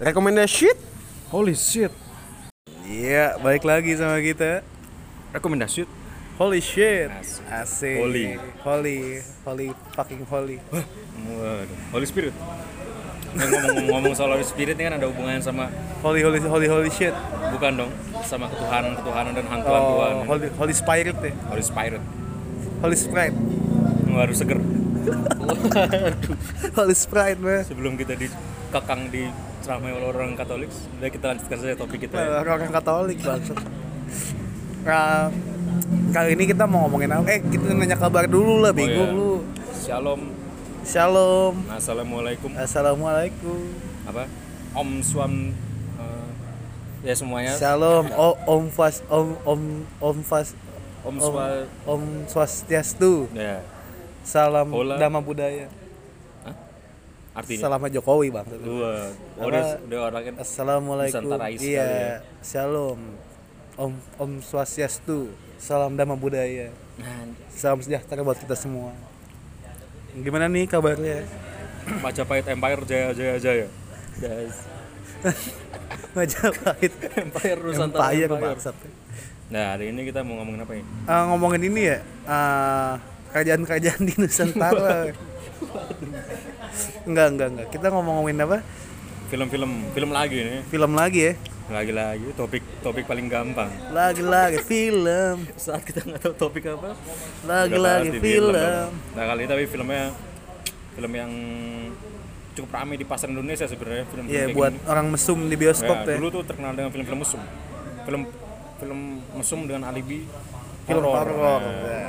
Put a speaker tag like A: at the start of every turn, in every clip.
A: Recommendation?
B: Holy shit.
A: Iya, balik lagi sama kita.
B: Rekomendasi?
A: Holy shit. Asik.
B: Holy.
A: Holy. Holy fucking holy.
B: Waduh. Holy Spirit. Nah, Ngomong-ngomong soal Holy Spirit ini kan ada hubungannya sama
A: Holy holy holy holy shit.
B: bukan dong sama ketuhanan ketuhanan dan hantuan tuhan
A: Oh, holy holy spirit deh.
B: Holy Spirit.
A: Holy sprite.
B: Harus seger. Waduh.
A: Holy sprite, man.
B: Sebelum kita dikekang di ceramah oleh orang Katolik, sudah kita lanjutkan saja topik kita. ya.
A: Orang Katolik banget. Nah, kali ini kita mau ngomongin apa? Eh, kita nanya kabar dulu lah, bingung
B: iya.
A: lu.
B: Shalom.
A: Shalom.
B: Assalamualaikum.
A: Assalamualaikum.
B: Apa? Om Swam eh, ya semuanya.
A: Shalom. O- om fas om om om fas om,
B: Om Swa
A: om swastiastu.
B: ya.
A: Salam
B: Hola.
A: Dhamma budaya.
B: Artinya
A: Salam Jokowi bang.
B: dua
A: Apa?
B: oh, udah, udah orang kan
A: Assalamualaikum.
B: Nusantarais sekali
A: iya.
B: ya.
A: Shalom. Om Om Swastiastu. Salam Dhamma budaya.
B: nah,
A: Salam sejahtera buat kita semua. Gimana nih kabarnya?
B: Majapahit Empire jaya jaya jaya guys
A: Majapahit.
B: Empire Nusantara
A: Empire,
B: Empire.
A: bangsat.
B: nah hari ini kita mau ngomongin apa ya
A: Eh, ngomongin ini ya, eh, kerajaan-kerajaan di Nusantara. enggak, enggak, enggak. Kita ngomong-ngomongin apa?
B: film-film film lagi nih
A: Film lagi ya.
B: lagi-lagi topik topik paling gampang
A: Lagi-lagi film.
B: saat kita nggak tahu topik apa udah bahas
A: Lagi-lagi
B: di
A: film.
B: dong. nah kali ini tapi filmnya film yang cukup ramai di pasar Indonesia sebenarnya film
A: Iya, buat orang mesum di bioskop ya.
B: dulu tuh terkenal dengan film-film mesum film film mesum dengan alibi
A: Film
B: horor.
A: horor. Ah.
B: Nah,
A: ya.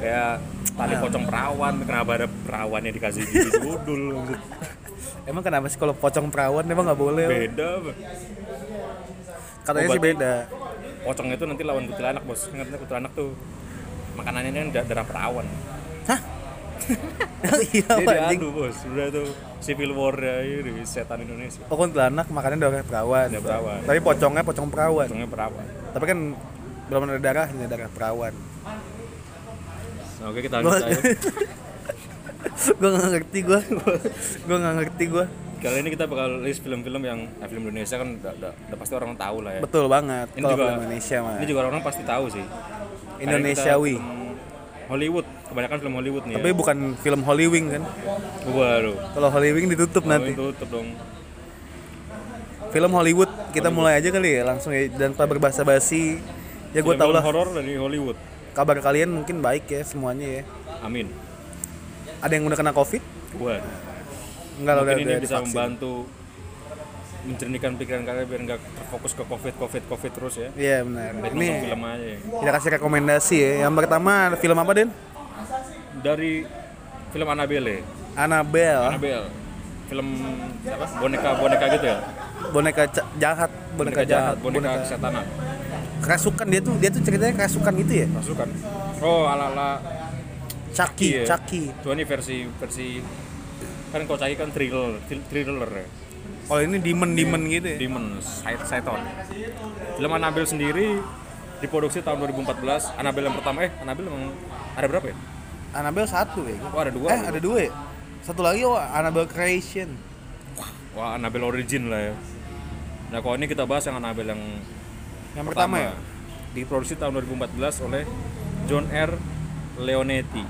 B: kayak tali pocong perawan kenapa ada perawannya dikasih gigi dudul
A: Emang kenapa sih kalau pocong perawan emang nggak boleh?
B: beda Bang.
A: Katanya sih
B: Obat.
A: beda.
B: pocong itu nanti lawan kuntilanak bos ingat nggak kuntilanak tuh makanannya kan da- darah perawan
A: Oh, Iya,
B: jadi
A: anjing.
B: diadu bos udah tuh civil war ya di setan Indonesia
A: Oh, kuntilanak makannya darah perawan.
B: Darah perawan.
A: Tapi pocongnya pocong perawan.
B: pocongnya perawan
A: Tapi kan belum ada darahnya darah perawan.
B: Nah, oke kita lanjut aja
A: gue nggak ngerti gue. gue nggak ngerti gue.
B: kali ini kita bakal list film-film yang eh, film Indonesia kan udah, udah- udah pasti orang tahu lah ya
A: Betul banget.
B: ini
A: Kalau
B: juga
A: film Indonesia mah.
B: ini juga orang pasti tahu sih Kayak kita
A: Indonesiawi.
B: film Hollywood kebanyakan film Hollywood nih
A: Tapi bukan film Hollywood kan.
B: ya. waduh
A: Kalau Hollywood ditutup nanti.
B: itu tutup dong
A: Film Hollywood kita mulai aja kali ya langsung ya dan tanpa berbahasa basi. Ya gue tau
B: Film-film
A: lah
B: horor dari Hollywood
A: kabar kalian mungkin baik ya semuanya ya.
B: amin
A: Ada yang udah kena covid?
B: waduh
A: Enggak lah udah
B: mungkin ini
A: udah
B: bisa
A: divaksin.
B: membantu mencernihkan pikiran kalian biar nggak terfokus ke covid covid covid terus ya
A: Iya benar.
B: Baik
A: Ini
B: nonton film aja ya.
A: kita kasih rekomendasi ya. Yang pertama ada film apa Den?
B: dari film Annabelle
A: Annabelle.
B: Annabelle film apa boneka boneka gitu ya
A: Boneka ca- jahat, boneka, jahat,
B: boneka, kesetanan
A: Kerasukan dia tuh, dia tuh ceritanya kerasukan gitu ya.
B: pasukan oh ala ala
A: Chucky,
B: Iya.
A: Chucky.
B: tuh ini versi versi kan kau cari kan thriller thril- thriller ya
A: Kalau ini demon-demon gitu ya.
B: demon Sait- Saiton film Annabelle sendiri diproduksi tahun 2014 Annabelle yang pertama eh Annabelle yang ada berapa ya
A: Annabelle satu ya.
B: oh ada dua
A: Eh, ada dua ya? Satu lagi oh Annabelle Creation.
B: Wah, Annabelle Origin lah ya. Nah, kalau ini kita bahas yang Annabelle yang
A: Yang pertama, ya.
B: Diproduksi tahun 2014 oleh John R. Leonetti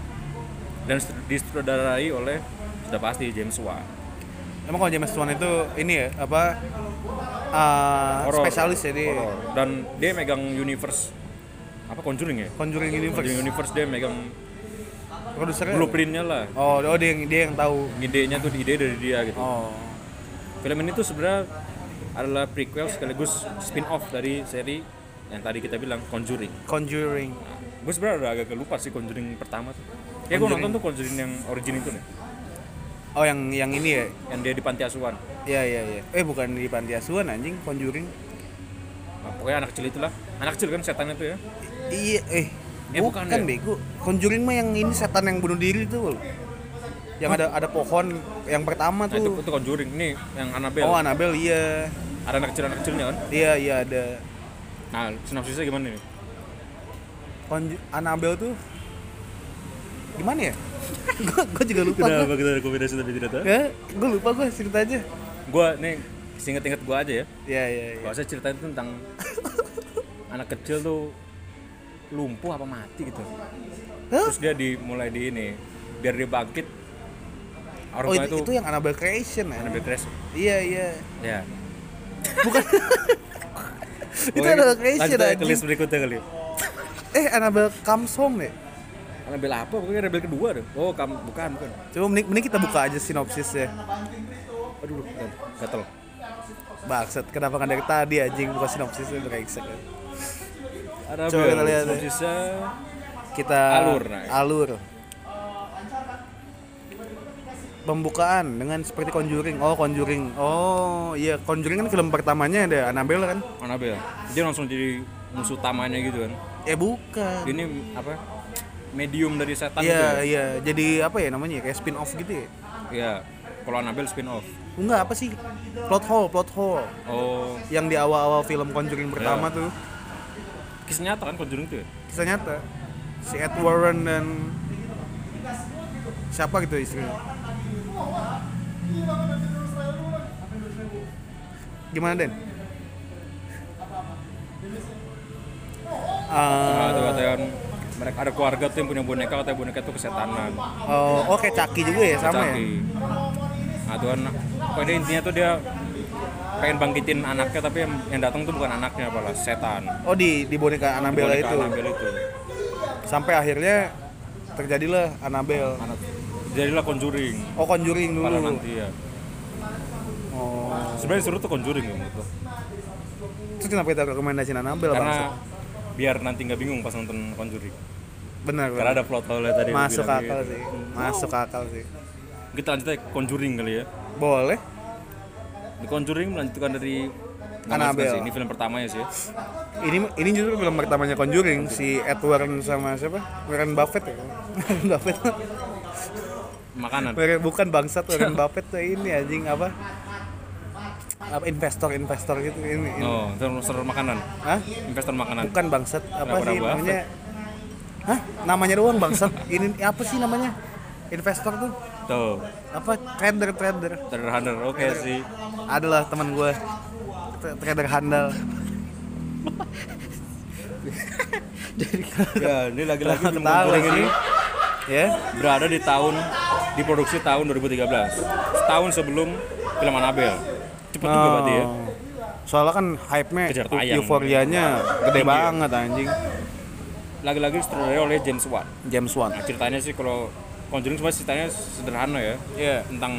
B: dan distru- disutradarai oleh sudah pasti James Wan.
A: Emang kalau James Wan itu ini ya apa uh,
B: Horor.
A: spesialis ya di
B: Horor. Dan dia megang universe apa Conjuring ya?
A: Conjuring
B: Conjuring
A: Universe.
B: universe dia megang
A: Produsernya.
B: blueprintnya lah.
A: Oh, oh dia yang dia yang tahu.
B: Idenya tuh ide dari dia gitu.
A: Oh.
B: Film ini tuh sebenarnya adalah prequel sekaligus spin-off dari seri yang tadi kita bilang Conjuring.
A: Conjuring.
B: gue sebenarnya udah agak lupa sih Conjuring pertama tuh ya gue nonton tuh Conjuring yang origin itu nih
A: Oh, yang yang ini ya.
B: yang dia di panti asuhan
A: Iya, iya, iya. Eh, bukan di panti asuhan anjing Conjuring.
B: nah, pokoknya anak kecil itulah anak kecil kan setan itu ya
A: I- Iya, eh.
B: Eh, bukan
A: bukan,
B: ya?
A: bego. Conjuring mah yang ini setan yang bunuh diri tuh loh. Yang ada ada pohon yang pertama
B: nah, itu,
A: tuh.
B: itu Conjuring nih yang Annabelle
A: Oh, Annabelle iya.
B: ada anak kecil anak kecilnya kan
A: Iya, iya ada.
B: nah sinopsisnya gimana nih
A: Konju Annabelle tuh gimana ya? gue juga lupa Ya, gue. eh?
B: kita rekomendasi tapi tidak tahu
A: gue lupa gue ceritanya.
B: gue nih Seinget-inget gua aja ya.
A: Iya iya iya.
B: Gua saya ceritain tuh tentang anak kecil tuh lumpuh apa mati gitu.
A: Hah?
B: Terus dia dimulai di ini biar dia bangkit.
A: Oh
B: Orangnya
A: itu, itu
B: tuh
A: yang Annabelle Creation ya?
B: anak betres.
A: Iya iya.
B: Ya.
A: Itu Annabelle Creation
B: Lanjut aja ke
A: anjing.
B: list berikutnya kali.
A: Eh Annabelle Comes Home deh.
B: Rebel apa? Pokoknya rebel kedua deh. Oh, kam bukan, bukan.
A: Coba mending, mending kita buka aja sinopsisnya.
B: Aduh, bukan. gatel.
A: Bangsat, kenapa nggak dari tadi anjing buka sinopsisnya brengsek.
B: Ada
A: Coba kita lihat deh.
B: Sinopsisnya
A: Kita
B: Alur, nah.
A: Alur. Pembukaan dengan seperti Conjuring. Oh, Conjuring. Oh, iya Conjuring kan film pertamanya ada Annabelle kan?
B: Annabelle. Dia langsung jadi musuh utamanya gitu kan.
A: Eh bukan.
B: Ini apa? Medium dari setan
A: Iya,
B: gitu.
A: iya. Jadi apa ya namanya? Kayak spin off gitu ya.
B: Iya. Kalau Annabelle spin off.
A: Enggak, apa sih? Plot hole, plot hole.
B: Oh,
A: Yang di awal-awal film Conjuring pertama
B: Iya.
A: tuh
B: kisah nyata kan Conjuring tuh ya?
A: kisah nyata. Si Ed Warren dan siapa gitu istrinya. Gimana, Den?
B: Nah,
A: Ah,
B: tuh katanya kan mereka ada keluarga tuh yang punya boneka katanya boneka tuh kesetanan.
A: oh, oh, kayak Caki juga ya sama ya?
B: Caki. Nah, tuh kan pokoknya intinya tuh dia pengen bangkitin anaknya tapi yang, yang datang tuh bukan anaknya malah setan.
A: Oh di di boneka Annabelle
B: Boneka
A: itu.
B: Annabelle itu.
A: Sampai akhirnya terjadilah Annabelle.
B: Anak jadilah Conjuring.
A: Oh Conjuring
B: Malah
A: dulu.
B: nanti ya.
A: Oh.
B: Sebenarnya seru tuh Conjuring ya menurut gua.
A: Terus kenapa kita rekomendasiin Annabelle bangsa?
B: Karena biar nanti nggak bingung pas nonton Conjuring.
A: Benar.
B: Karena ada plot hole tadi. lu
A: Masuk
B: bilang
A: akal
B: gitu.
A: sih. Masuk akal sih.
B: Kita lanjut aja ke Conjuring kali ya.
A: Boleh.
B: Di Conjuring melanjutkan dari
A: Annabelle.
B: Sih, Ini film pertamanya sih. ya.
A: Ini ini justru film pertamanya Conjuring si Ed Warren sama siapa? Warren Buffett ya. Warren Buffett.
B: Makanan.
A: Warren- bukan bangsat Warren Buffett tuh ini anjing apa? Apa investor-investor gitu ini. ini.
B: Oh, investor makanan.
A: Hah?
B: Investor makanan.
A: Bukan bangsat apa
B: Kenapa
A: sih
B: Warren
A: namanya? Hah? Namanya doang bangsat. ini apa sih namanya? Investor tuh
B: Tuh,
A: apa trader trader
B: terhadap oke sih.
A: adalah teman gue Tra- trader handal
B: Ya, ini lagi-lagi film
A: Ketawa
B: Conjuring ini
A: sih. ya
B: berada di tahun diproduksi tahun 2013. Setahun sebelum film Annabelle. Cepet juga berarti ya.
A: Oh. Soalnya kan hype-nya,
B: Kejar
A: eu-
B: tayang.
A: euforianya gede
B: Tinggi.
A: banget anjing.
B: Lagi-lagi sutradara oleh James Wan.
A: James Wan.
B: Nah, ceritanya sih kalau Conjuring sebenarnya ceritanya sederhana ya.
A: Iya.
B: Tentang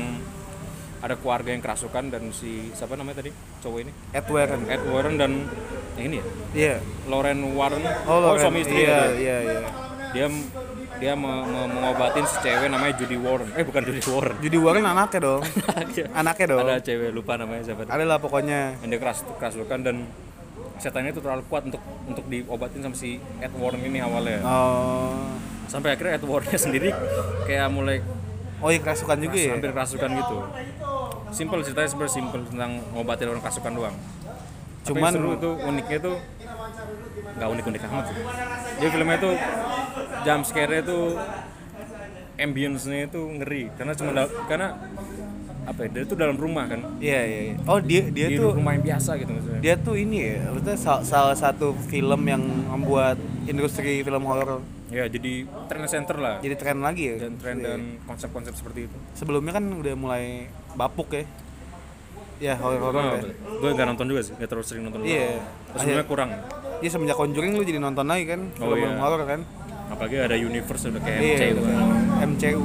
B: ada keluarga yang kerasukan dan si siapa namanya tadi cowok ini
A: Ed Warren.
B: Ed Warren dan yang ini ya
A: Iya.
B: Lauren Warren
A: Oh, Lauren.
B: suami istri
A: iya, iya,
B: ya
A: iya.
B: dia dia me- me- mengobatin si cewek namanya Judy Warren eh bukan Judy Warren
A: Jadi Warren anaknya dong. anaknya dong.
B: ada cewek lupa namanya siapa
A: Ada lah pokoknya.
B: yang dia keras kerasukan dan setannya itu terlalu kuat untuk untuk diobatin sama si Ed Warren ini awalnya
A: Oh.
B: sampai akhirnya Ed Warrennya sendiri kayak mulai
A: Oh, yang kerasukan juga ya.
B: hampir kerasukan gitu simple ceritanya sebenarnya simple tentang ngobatin orang kerasukan doang Tapi
A: Cuman-
B: seru itu uniknya tuh nggak unik unik amat sih jadi filmnya tuh jump scare-nya tuh ambience-nya itu ngeri karena cuma dal- karena apa ya, dia tuh dalam rumah kan
A: Iya, iya, iya. Oh, dia dia
B: di
A: tuh
B: rumah yang biasa gitu maksudnya
A: dia tuh ini ya, maksudnya sal- salah satu film yang membuat industri film horor
B: ya jadi trend center lah
A: jadi tren lagi ya.
B: dan trend dan konsep-konsep seperti itu
A: Sebelumnya kan udah mulai bapuk ya. Ya, horor-horor
B: Oh,
A: ya.
B: gue nggak nonton juga sih nggak terlalu sering nonton
A: Iya.
B: terus sebenarnya kurang
A: Iya semenjak Conjuring lu jadi nonton lagi kan
B: Oh,
A: film
B: iya.
A: horor kan?
B: apalagi ada universe udah kayak MC
A: Iya,
B: gitu kan.
A: MCU.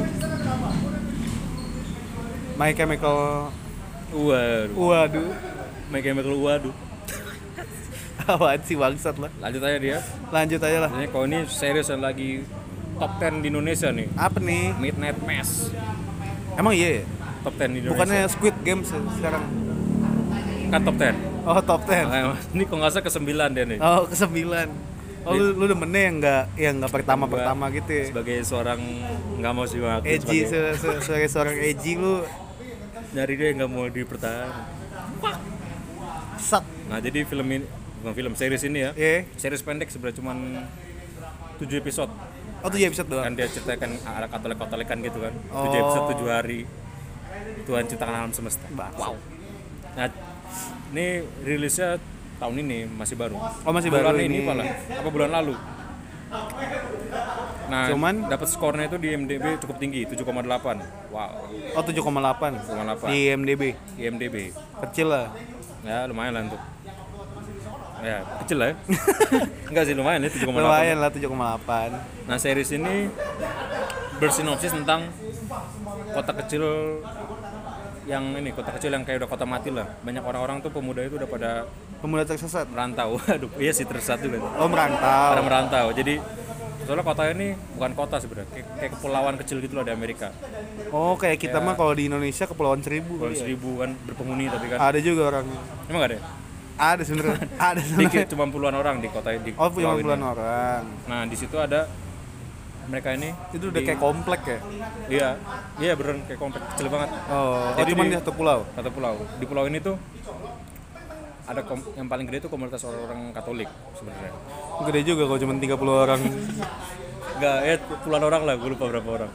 A: My Chemical
B: Waduh,
A: Waduh.
B: My Chemical Waduh.
A: Apaan sih bangsat lah.
B: Lanjut aja dia.
A: Lanjut aja lah.
B: Ini kalau ini serius yang lagi top 10 di Indonesia nih.
A: Apa nih?
B: Midnight Mass.
A: Emang iya ya?
B: Top 10 di Indonesia.
A: Bukannya Squid Games ya sekarang?
B: kan top 10.
A: Oh top 10.
B: Nah, ini kalau nggak salah ke-9 dia nih.
A: Oh ke 9. Oh lu, lu demennya yang nggak yang nggak pertama-pertama gitu ya?
B: Sebagai seorang nggak mau sih aku
A: Edgy, se-
B: sebagai-
A: se- sebagai seorang edgy lu
B: nyari dia yang nggak mau dipertahankan.
A: sak
B: Nah, jadi film ini bukan film series ini ya.
A: ya.
B: Series pendek sebenarnya cuman 7 episode.
A: Oh tuh ya episode doang.
B: Kan dia ceritakan ala katolik-katolikan gitu kan. 7
A: Oh.
B: episode 7 hari. Tuhan ciptakan alam semesta.
A: Bang.
B: Nah, Ini rilisnya tahun ini masih baru.
A: Oh, masih
B: bulan
A: baru ini.
B: ini, pala. Apa bulan lalu? Nah,
A: Cuman?
B: dapat skornya itu di IMDb cukup tinggi, 7,8. Wow,
A: Oh 7,8
B: 7,8
A: di IMDb.
B: IMDb.
A: Kecil lah.
B: Ya, lumayan lah untuk. Ya, kecil lah ya. Enggak sih, lumayan ya 7,8.
A: Lumayan lah 7,8.
B: Nah series ini bersinopsis tentang kota kecil yang ini kota kecil yang kayak udah kota mati lah banyak orang-orang tuh pemuda itu udah pada
A: Pemuda tersesat.
B: merantau aduh iya sih tersesat juga tuh.
A: Oh merantau.
B: pada merantau jadi soalnya kota ini bukan kota sebenarnya kayak, kayak kepulauan kecil gitu loh di Amerika
A: Oh kayak kita mah kalau di Indonesia kepulauan seribu.
B: Iya. kepulauan seribu kan berpenghuni tapi kan
A: Ada juga orangnya.
B: emang gak ada ya?
A: Ada sebenarnya. Ada sebenarnya.
B: dikit cuma puluhan orang di kota di
A: Oh punya
B: pulau ini.
A: puluhan orang.
B: nah di situ ada mereka ini
A: Itu udah
B: di-
A: kayak komplek ya.
B: iya iya beneran kayak komplek kecil banget
A: Oh,
B: Jadi
A: oh cuman
B: di-
A: di satu pulau.
B: satu pulau di pulau ini tuh ada kom- yang paling gede itu komunitas orang-orang Katolik sebenarnya
A: Gede juga kalau cuma 30 orang.
B: nggak eh puluhan orang lah gue lupa berapa orang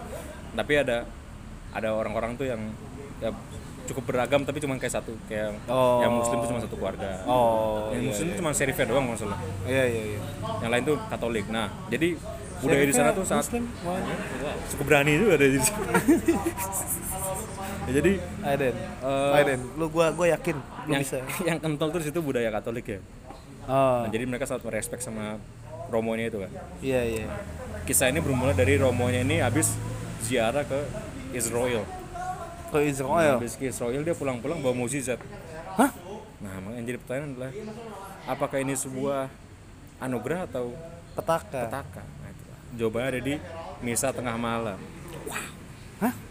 B: tapi ada ada orang-orang tuh yang ya, cukup beragam tapi cuma kayak satu kayak
A: Oh.
B: yang Muslim tuh cuma satu keluarga
A: Oh,
B: yang Muslim tuh cuma serifnya doang kalau nggak salah
A: iya iya iya.
B: yang lain tuh Katolik nah jadi budaya di sana tuh sangat
A: Muslim. Wah.
B: cukup berani juga ada di sana Ya, jadi
A: Aiden.
B: Eh,
A: Aiden, lu gua gua yakin lu
B: yang,
A: bisa.
B: yang kental terus itu budaya Katolik ya
A: Oh,
B: Nah, jadi mereka sangat merespek sama romonya itu kan.
A: iya iya.
B: Kisah ini bermula dari romonya ini habis ziarah ke Israel.
A: Ke Israel.
B: Habis ke Israel dia pulang-pulang bawa mukjizat.
A: Hah?
B: Nah, maka yang jadi pertanyaan adalah apakah ini sebuah anugerah atau
A: Petaka.
B: petaka? Nah, itu. Jawabannya ada di misa tengah malam.
A: Hah?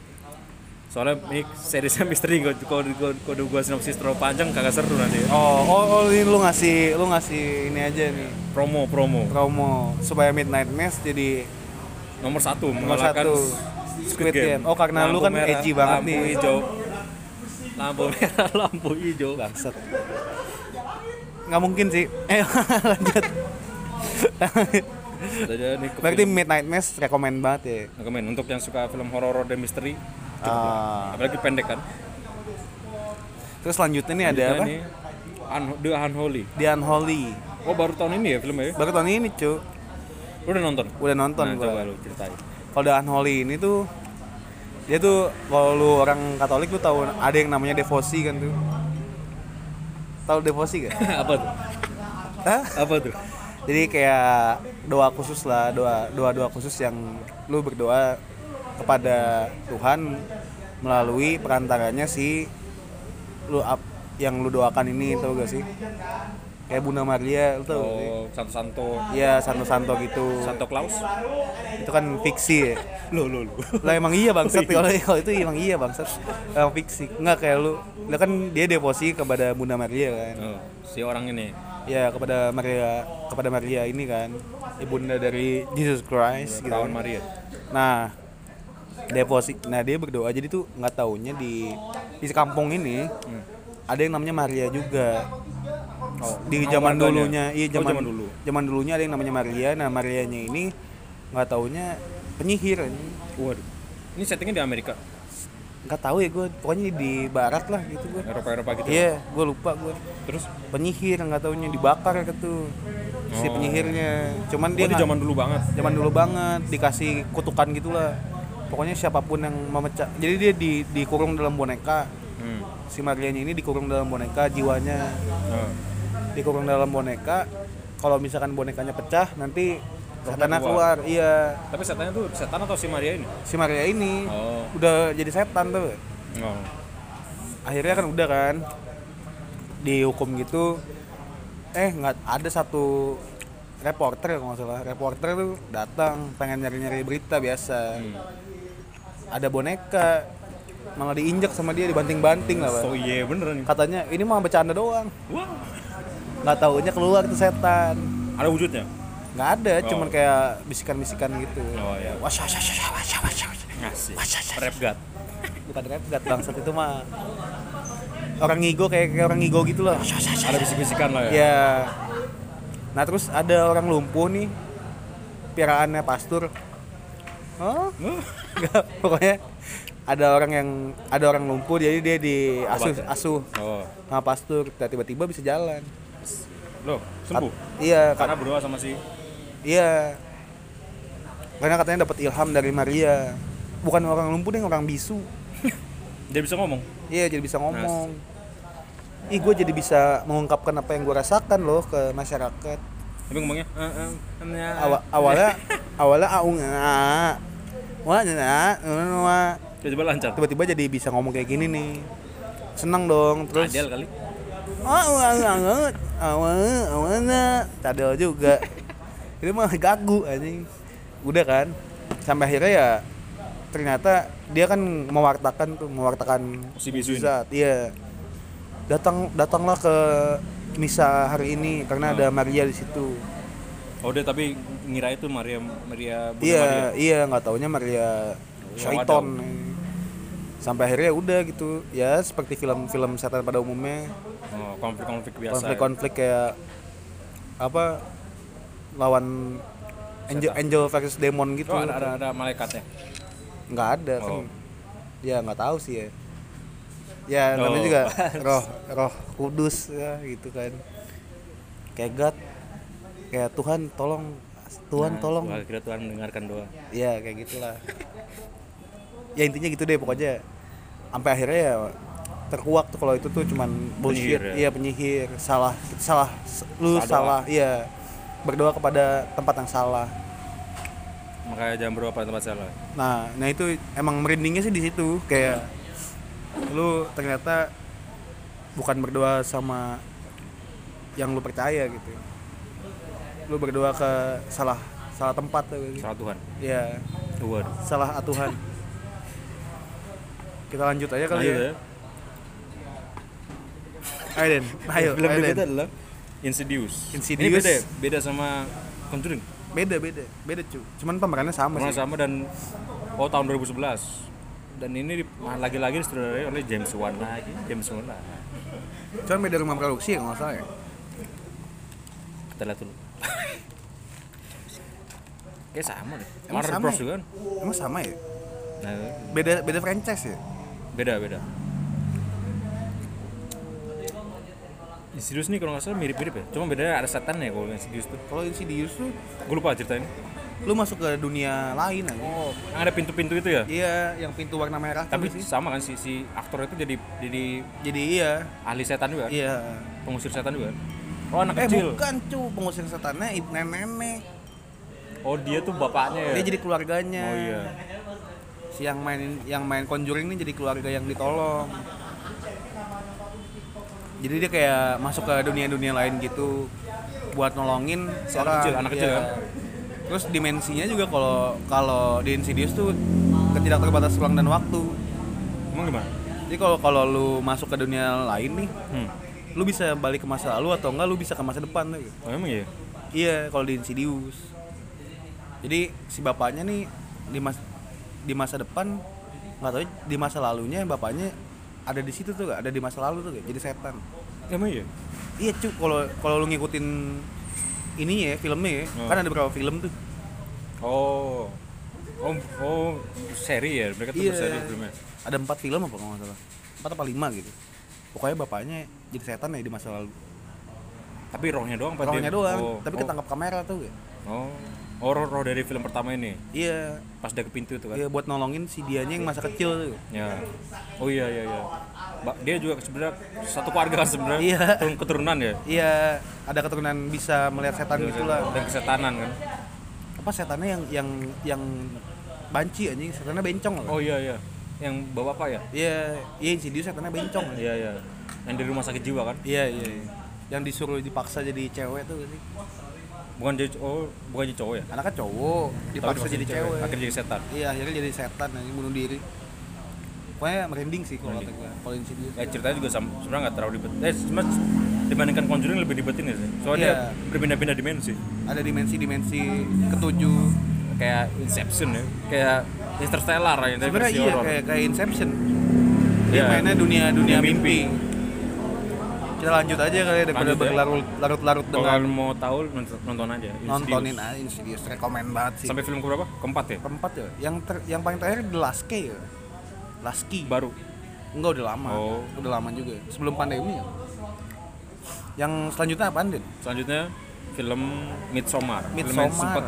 B: Soalnya ini seriesnya misteri kode kode kode, kode gua sinopsis terlalu panjang kagak seru nanti.
A: Oh, oh, oh ini lu ngasih lu ngasih ini aja nih.
B: Promo promo
A: Promo supaya Midnight Mass jadi
B: nomor satu
A: nomor
B: mengalahkan
A: satu Squid Game. Oh, karena lu
B: Lampu
A: kan
B: merah,
A: edgy banget
B: lampu
A: nih.
B: hijau. Lampu merah, lampu hijau.
A: Bangsat. Nggak mungkin sih. Eh, lanjut.
B: Saja nih ke
A: Berarti
B: film.
A: Midnight Mass rekomend banget ya.
B: Rekomen untuk yang suka film horor dan misteri,
A: Ah.
B: apalagi pendek kan.
A: Terus selanjutnya nih ada
B: Nah,
A: apa?
B: Ini Un- The Unholy.
A: The Unholy.
B: Oh, baru tahun ini ya filmnya ya?
A: Baru tahun ini, cu.
B: Lu udah nonton?
A: Udah nonton
B: nah,
A: gua.
B: coba lu ceritain.
A: Kalau The Unholy ini tuh dia tuh kalau lu orang Katolik lu tahu ada yang namanya devosi kan tuh. Tahu devosi gak?
B: apa tuh?
A: Hah?
B: Apa tuh?
A: Jadi kayak doa khusus lah, doa doa doa khusus yang lu berdoa kepada Tuhan melalui perantaranya si lu ap, yang lu doakan ini tau gak sih? Kayak Bunda Maria, lu tau gak sih?
B: Oh, Santo Santo
A: Iya, santo-santo gitu.
B: Santo Claus.
A: Itu kan fiksi ya.
B: Lu lu lu.
A: lah emang iya bangsat kalau kalau itu emang iya bangsat emang fiksi nggak kayak lu lah kan dia devosi kepada Bunda Maria kan
B: Oh, si orang ini.
A: ya kepada Maria kepada Maria ini kan ibunda dari Jesus Christ gitu
B: Perawan Maria.
A: nah devosi nah dia berdoa jadi tuh nggak taunya di di kampung ini ada yang namanya Maria juga
B: Oh,
A: di
B: nama
A: zaman
B: keluarganya.
A: dulunya iya
B: Oh,
A: zaman,
B: zaman dulu.
A: zaman dulunya ada yang namanya Maria nah Marianya ini nggak taunya penyihir anjing.
B: Waduh. Ini settingnya di Amerika,
A: nggak tahu ya gue pokoknya di barat lah gitu gue
B: Eropa-Eropa gitu.
A: Iya, gue lupa gue.
B: Terus
A: Penyihir nggak taunya dibakar gitu. Si
B: Oh.
A: penyihirnya. Cuman dia
B: dia Oh, di
A: nggak-
B: zaman dulu banget.
A: zaman dulu banget dikasih kutukan gitulah. Pokoknya siapapun yang memecah. Jadi dia di dikurung dalam boneka.
B: Hmm.
A: Si Marianya ini dikurung dalam boneka jiwanya
B: Oh.
A: dikurung dalam boneka. Kalau misalkan bonekanya pecah nanti setannya keluar.
B: keluar.
A: Iya,
B: Tapi setannya tuh setan atau si Maria ini?
A: si Maria ini
B: Oh.
A: udah jadi setan tuh.
B: Oh.
A: akhirnya kan udah kan dihukum gitu eh nggak ada satu reporter ya kalau nggak salah reporter tuh datang pengen nyari nyari berita biasa ada boneka malah diinjak sama dia dibanting banting lah Pak.
B: So iya beneran nih.
A: katanya ini mah bercanda doang
B: Wow.
A: nggak taunya keluar tuh setan
B: Ada wujudnya?
A: nggak ada cuman kayak bisikan bisikan gitu
B: Oh iya.
A: Wah, syah, syah, syah, syah, syah, syah, syah.
B: Ngasih. Rap god.
A: bukan rap gat bangsat itu mah orang ngigo kayak, kayak orang ngigo gitu loh Syah, syah, syah,
B: Ada bisik-bisikan lah ya.
A: Ya. Nah terus ada orang lumpuh nih, piaraannya pastur. Oh,
B: Huh?
A: enggak, pokoknya ada orang yang ada orang lumpuh jadi dia di asuh asuh
B: oh
A: sama pastur Nah, tiba-tiba bisa jalan
B: lo sembuh
A: Kat- iya kat-
B: karena berdoa sama si
A: iya karena katanya dapat ilham dari Maria bukan orang lumpuh deh orang bisu
B: dia bisa ngomong
A: iya jadi bisa ngomong ih gue jadi bisa mengungkapkan apa yang gue rasakan loh ke masyarakat
B: tapi ngomongnya eh, eh, eh,
A: Awa- awalnya awalnya aung ah, wah nah, nah, wah.
B: tiba-tiba lancar
A: tiba-tiba jadi bisa ngomong kayak gini nih seneng dong terus
B: Adel kali
A: oh awal awal awalnya cadel juga ini mah gagu anjing udah kan sampai akhirnya ya ternyata dia kan mewartakan tuh mewartakan
B: Si bisu ini.
A: mukjizat. iya datang datanglah ke misa hari ini karena ada Maria di situ
B: oh dia tapi ngira itu Maria Maria Bunda Maria
A: iya iya nggak taunya Maria Shaiton sampai akhirnya udah gitu ya seperti film-film setan pada umumnya
B: oh, konflik-konflik biasa ya.
A: konflik-konflik kayak apa lawan angel angel versus demon gitu
B: oh, ada, ada ada malaikatnya
A: nggak ada kan
B: Oh.
A: ya nggak tahu sih ya ya namanya
B: Oh.
A: juga roh roh kudus ya gitu kan kayak God kayak Tuhan tolong
B: Nah,
A: Tuhan Kan tolong
B: Wah, kira Tuhan mendengarkan doa
A: ya kayak gitulah ya intinya gitu deh pokoknya sampai akhirnya ya terkuak tuh kalau itu tuh cuman bullshit
B: Penyihir, ya?
A: iya penyihir salah salah lu
B: Salah
A: salah iya berdoa kepada tempat yang salah
B: makanya jangan berdoa pada tempat salah
A: nah nah itu emang merindingnya sih di situ kayak lu ternyata bukan berdoa sama yang lu percaya gitu lu berdoa ke salah salah tempat tuh
B: salah Tuhan
A: ya
B: waduh
A: salah atuhan kita lanjut aja kali
B: Lanjut
A: ya
B: ya.
A: ayo Den ayo
B: Film
A: ayo, Den.
B: berikutnya adalah Insidious.
A: Insidious.
B: Ini beda ya? beda sama Conjuring.
A: beda beda beda cu cuman pemerannya sama
B: Sama
A: sih
B: sama dan oh tahun 2011. Dan ini di- nah, lagi-lagi disutradarai oleh James Wan lagi, James Wan lah.
A: cuman beda rumah produksi ya nggak salah ya
B: Kita lihat dulu. Kayak sama deh.
A: Emang
B: Warner
A: sama
B: Bros
A: ya?
B: juga kan.
A: emang sama ya
B: Nah,
A: beda beda franchise ya
B: beda beda. Insidious nih kalau nggak salah mirip-mirip ya. Cuma bedanya ada setan ya kalau Insidious tuh.
A: kalau Insidious tuh
B: Gue lupa ceritanya.
A: lu masuk ke dunia lain aja
B: Oh, yang ada pintu-pintu itu ya.
A: iya yang pintu warna merah tuh
B: Tapi
A: sih.
B: sama kan si si aktor itu jadi jadi
A: jadi iya
B: ahli setan juga kan?
A: iya
B: pengusir setan juga kan? oh anak
A: eh
B: kecil
A: bukan cu pengusir setannya ibu nenek nenek
B: oh dia tuh bapaknya ya
A: dia jadi keluarganya
B: oh iya
A: si yang main yang main Conjuring ini jadi keluarga yang ditolong jadi dia kayak masuk ke dunia-dunia lain gitu buat nolongin
B: Si anak kecil, anak kecil
A: Iya.
B: kan?
A: terus dimensinya juga kalau kalau di Insidious tuh ketidak terbatas ruang dan waktu
B: emang gimana
A: jadi kalau kalau lu masuk ke dunia lain nih
B: hmm.
A: lu bisa balik ke masa lalu atau enggak lu bisa ke masa depan tuh
B: oh emang iya
A: Iya, kalau di Insidious. Jadi si bapaknya nih di mas di masa depan nggak tahu di masa lalunya bapaknya ada di situ tuh, Kak. ada di masa lalu tuh, Kak. jadi setan.
B: emang iya
A: Iya, cu, kalau kalau lu ngikutin ini ya filmnya ya,
B: Hmm.
A: kan ada beberapa film tuh.
B: oh oh oh seri ya mereka tuh
A: Iya.
B: berseri filmnya
A: Ada empat film apa kalau nggak salah? Empat apa lima gitu. Pokoknya bapaknya jadi setan ya di masa lalu.
B: tapi rohnya doang apa dia-
A: Orangnya doang,
B: oh.
A: tapi
B: oh.
A: ketangkap kamera tuh. Kak.
B: oh oh roh, roh dari film pertama ini
A: Iya,
B: pas dia ke pintu itu kan
A: iya buat nolongin si dianya yang masa kecil tuh. Kak.
B: ya oh iya iya iya Ba- dia juga sebenarnya satu keluarga kan sebenarnya
A: Iya.
B: Turun- keturunan ya
A: Iya, ada keturunan bisa melihat setan gitulah.
B: dan kesetanan kan
A: apa setannya yang yang yang banci anjing setannya bencong loh
B: oh iya iya yang bawa apa ya
A: iya iya Insidious setannya bencong anjing.
B: Iya iya. Yang dari rumah sakit jiwa kan?
A: iya iya iya. yang disuruh dipaksa jadi cewek tuh sih
B: Bukan jadi oh, bukan jadi cowok ya?
A: anaknya cowok dipaksa
B: dipaksa
A: jadi, cewek,
B: Akhirnya jadi setan.
A: iya akhirnya jadi setan anjing bunuh diri pokoknya merinding sih kalau kata gua kalau Insidious
B: Ya ceritanya juga sama, sebenarnya nggak terlalu ribet. Eh cuma dibandingkan Conjuring lebih ribetin ya sih. Soalnya
A: Iya.
B: dia berpindah-pindah dimensi.
A: ada dimensi-dimensi ketujuh
B: Kayak Inception ya, kayak Interstellar ya, dari
A: sebenarnya
B: versi
A: iya
B: horor.
A: kayak kayak Inception dia
B: Iya.
A: mainnya dunia dunia
B: Dunia
A: mimpi.
B: mimpi.
A: kita lanjut aja kali ya, daripada
B: Lanjut ya.
A: berlarut-larut
B: Kalau
A: dengan
B: kalian mau tahu nont- nonton aja. Insidious.
A: nontonin aja Insidious rekomend banget sih
B: Sampai film ke berapa? Keempat ya.
A: keempat ya yang ter, yang paling terakhir The Last K ya Laski
B: baru
A: enggak udah lama
B: Oh.
A: udah lama juga sebelum pandemi ya yang selanjutnya apaan Din?
B: selanjutnya film Midsommar film
A: Midsommar.
B: yang sempat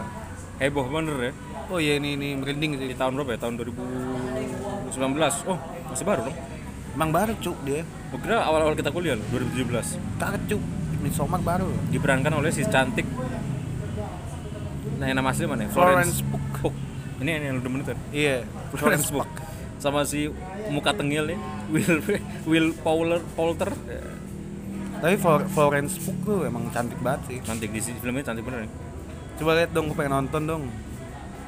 B: heboh bener ya
A: oh iya ini ini merinding sih
B: di tahun berapa ya tahun 2019 oh masih baru dong
A: emang baru cuk dia
B: Gua kira awal-awal kita kuliah loh 2017
A: kaget cuk Midsommar baru
B: diperankan oleh si cantik nah yang nama asli mana ya?
A: Florence
B: Pugh. Pugh. ini yang- yang lu demen itu ya?
A: iya
B: Florence Pugh sama si muka tengil ya Will Will Powler Poulter
A: tapi Flor- Florence Pugh tuh emang cantik banget sih
B: cantik di sini filmnya cantik bener ya
A: coba lihat dong gue pengen nonton dong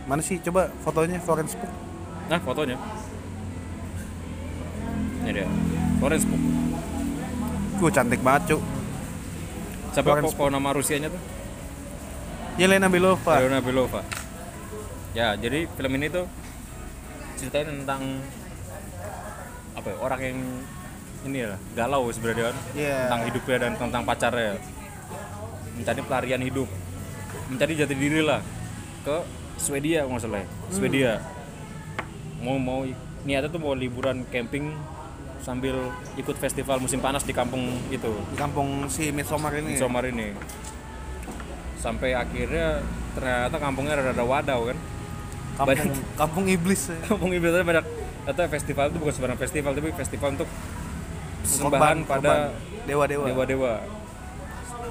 A: mana sih coba fotonya Florence Pugh
B: nah fotonya ini dia Florence Pugh
A: gue cantik banget cuk
B: siapa
A: Florence
B: pokok nama Rusianya tuh
A: Yelena Iya, Belova
B: Leona Belova. Ya, jadi film ini tuh ceritanya tentang apa ya, orang yang ini ya galau sebenarnya kan.
A: Iya.
B: tentang hidupnya dan tentang pacarnya ya. mencari pelarian hidup mencari jati diri lah ke Swedia kalau nggak salah ya. Swedia mau mau niatnya tuh mau liburan camping sambil ikut festival musim panas di kampung itu
A: di kampung si Midsommar ini
B: Somar ini sampai akhirnya ternyata kampungnya rada-rada wadau kan
A: kampung kampung iblis ya.
B: kampung ibaratnya banyak atau festival itu bukan sembarang festival tapi festival untuk sembahan pada
A: dewa dewa
B: dewa-dewa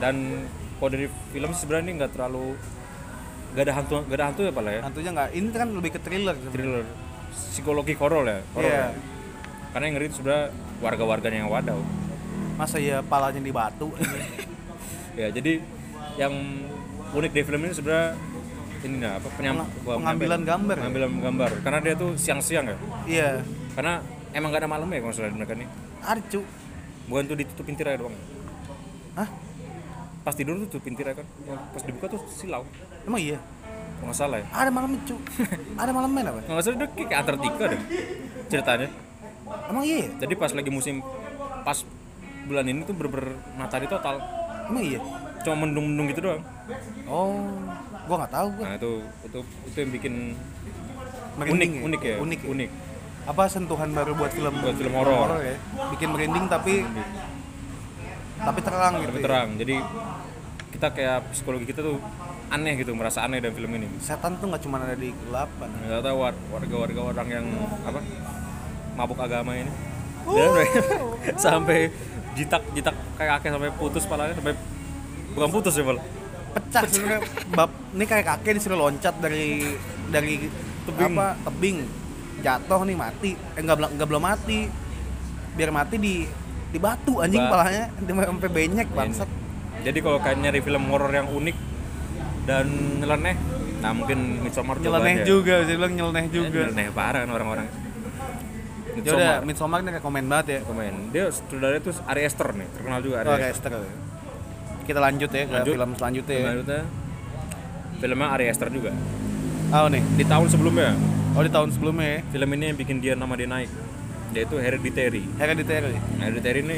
B: dan kalau dari film sih sebenarnya ini nggak terlalu nggak ada hantu nggak ada hantu ya pala ya
A: hantunya nggak ini kan lebih ke thriller sebenarnya.
B: thriller psikologi horor ya horor
A: Iya.
B: ya. karena yang ngeri itu sebenarnya warga-warganya yang wadau
A: masa ya palanya di batu
B: ya jadi yang unik dari film ini sebenarnya ini nah apa penyam-
A: Peng-
B: bukan
A: pengambilan
B: penyampaian.
A: gambar ya?
B: pengambilan gambar karena dia tuh siang-siang ya
A: iya
B: karena emang gak ada malam ya kalau nggak salah mereka nih
A: ada cuk
B: bukan tuh ditutupin tirai doang
A: Hah?
B: pas tidur tuh tutupin tirai kan pas dibuka tuh silau
A: emang iya
B: kalau nggak salah ya
A: ada malam itu ada malam main apa
B: kalau nggak salah dia kayak ke Antartika deh ceritanya
A: emang iya ya?
B: jadi pas lagi musim pas bulan ini tuh berber matahari total
A: emang iya
B: cuma mendung-mendung gitu doang
A: oh gua nggak tahu gua
B: nah itu itu itu yang bikin unik
A: Merinding ya?
B: unik ya
A: unik ya?
B: unik
A: apa sentuhan baru buat film
B: Buat film horor.
A: ya bikin merinding tapi tapi terang gitu
B: tapi
A: ya.
B: terang jadi kita kayak psikologi kita tuh aneh gitu merasa aneh dalam film ini
A: setan tuh nggak cuma ada di kegelapan
B: ternyata war- warga-warga orang yang apa mabuk agama ini Dan sampai jitak jitak kayak kakek sampai putus palanya sampai bukan putus ya pal
A: pecah sebenarnya bab ini kayak kakek disuruh loncat dari dari
B: Tebing.
A: apa tebing jatuh nih mati eh nggak bela- nggak belum mati biar mati di di batu anjing
B: Ba-
A: palanya di sampai benyek bangsat
B: jadi kalau kalian nyari film horor yang unik dan nyeleneh nah mungkin Midsommar coba
A: nyeleneh
B: aja.
A: juga bisa bilang nyeleneh juga
B: nyeleneh parah kan orang-orang
A: ya udah Midsommar ini rekomend banget ya
B: komen dia saudaranya tuh Ari Aster nih terkenal juga Ari
A: oke Esther kita lanjut ya ke
B: ya? Lanjut.
A: film selanjutnya ya.
B: Lanjutnya filmnya Ari Aster juga.
A: Oh nih,
B: Di tahun sebelumnya,
A: oh di tahun sebelumnya ya
B: film ini yang bikin dia nama dia naik, yaitu Hereditary.
A: Ya Hereditary
B: Hereditary ini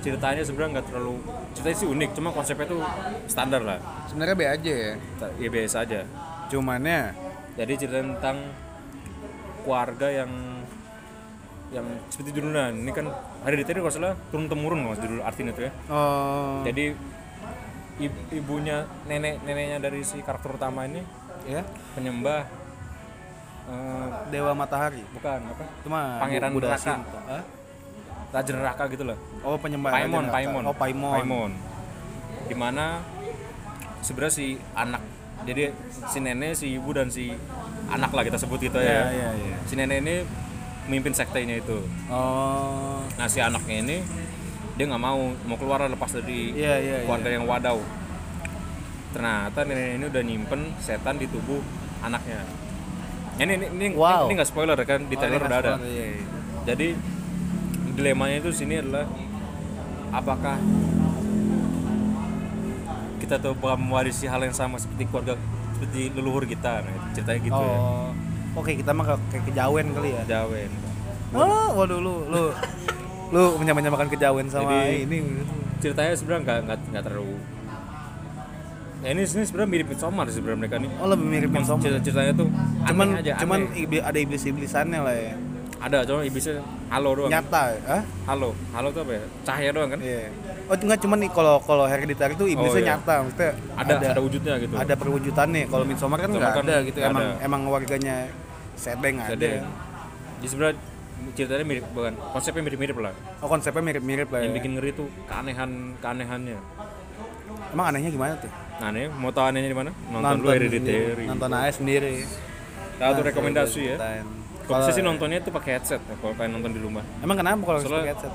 B: ceritanya sebenarnya nggak terlalu ceritanya sih unik, cuma konsepnya tuh standar lah,
A: sebenarnya be aja ya
B: Ta- ya biasa aja.
A: cumannya
B: Jadi cerita tentang keluarga yang yang seperti judulnya ini kan Hereditary kalau salah turun temurun kalau nggak salah judul artinya tuh ya.
A: oh
B: Jadi i- ibunya nenek neneknya dari si karakter utama ini
A: ya
B: penyembah eh,
A: Dewa Matahari
B: bukan apa
A: cuma
B: Pangeran
A: Buddha
B: Neraka.
A: Shinto. Hah?
B: raja neraka gitu loh
A: Oh penyembah Raja
B: paimon
A: Neraka.
B: paimon
A: Oh Paimon.
B: paimon dimana sebenarnya si anak jadi si nenek si ibu dan si anak lah kita sebut gitu
A: Iya
B: ya
A: iya iya.
B: si nenek ini memimpin sektenya itu
A: Oh
B: nah si anaknya ini dia nggak mau mau keluar lah lepas dari
A: iya iya. iya.
B: keluarga yang wadau ternyata nenek ini udah nyimpen setan di tubuh anaknya ini ini ini
A: Wow.
B: ini nggak spoiler kan di
A: Oh,
B: trailer
A: ini
B: udah ada
A: Raspberry, iya, iya.
B: jadi dilemanya itu sini adalah apakah kita tuh bakal mewarisi hal yang sama seperti keluarga seperti leluhur kita nah, ceritanya gitu ya
A: Oh. Oke kita mah ke- kayak kejawen kali ya.
B: Jawen
A: Oh waduh lu lu lu menyamakan kejawen sama
B: Jadi-
A: ini.
B: ceritanya sebenarnya nggak nggak nggak terlalu ya ini ini sebenarnya mirip Midsommar sih sebenarnya kan? mereka nih
A: Oh lebih mirip
B: yang
A: Midsommar.
B: cerita ceritanya tuh aneh
A: Cuman
B: aja
A: cuman
B: aneh.
A: ibi- ada iblis-iblisannya lah ya.
B: ada cuma iblisnya halo doang
A: nyata ah
B: halo halo tuh apa ya cahaya doang kan
A: iya oh nggak cuman nih kalau kalau hereditary itu iblisnya
B: iya.
A: nyata maksudnya
B: ada ada, wujudnya gitu
A: ada perwujudannya kalau Midsommar kan nggak
B: Midsommar kan
A: ada gitu
B: nggak
A: emang
B: ada.
A: emang warganya sedeng ada,
B: jadi jadi sebenarnya ceritanya mirip bukan konsepnya mirip-mirip lah
A: oh konsepnya mirip-mirip lah ya.
B: yang bikin ngeri tuh keanehan keanehannya
A: emang anehnya gimana tuh
B: nah nih mau tahu anehnya di mana nonton, dulu
A: sendiri,
B: Hereditary
A: nonton aja sendiri Nah,
B: satu rekomendasi ya
A: Ceritain.
B: kalau bisa sih nontonnya tuh pakai headset ya, kalau pengen nonton di rumah
A: emang kenapa kalau harus
B: Soalnya-
A: pakai headset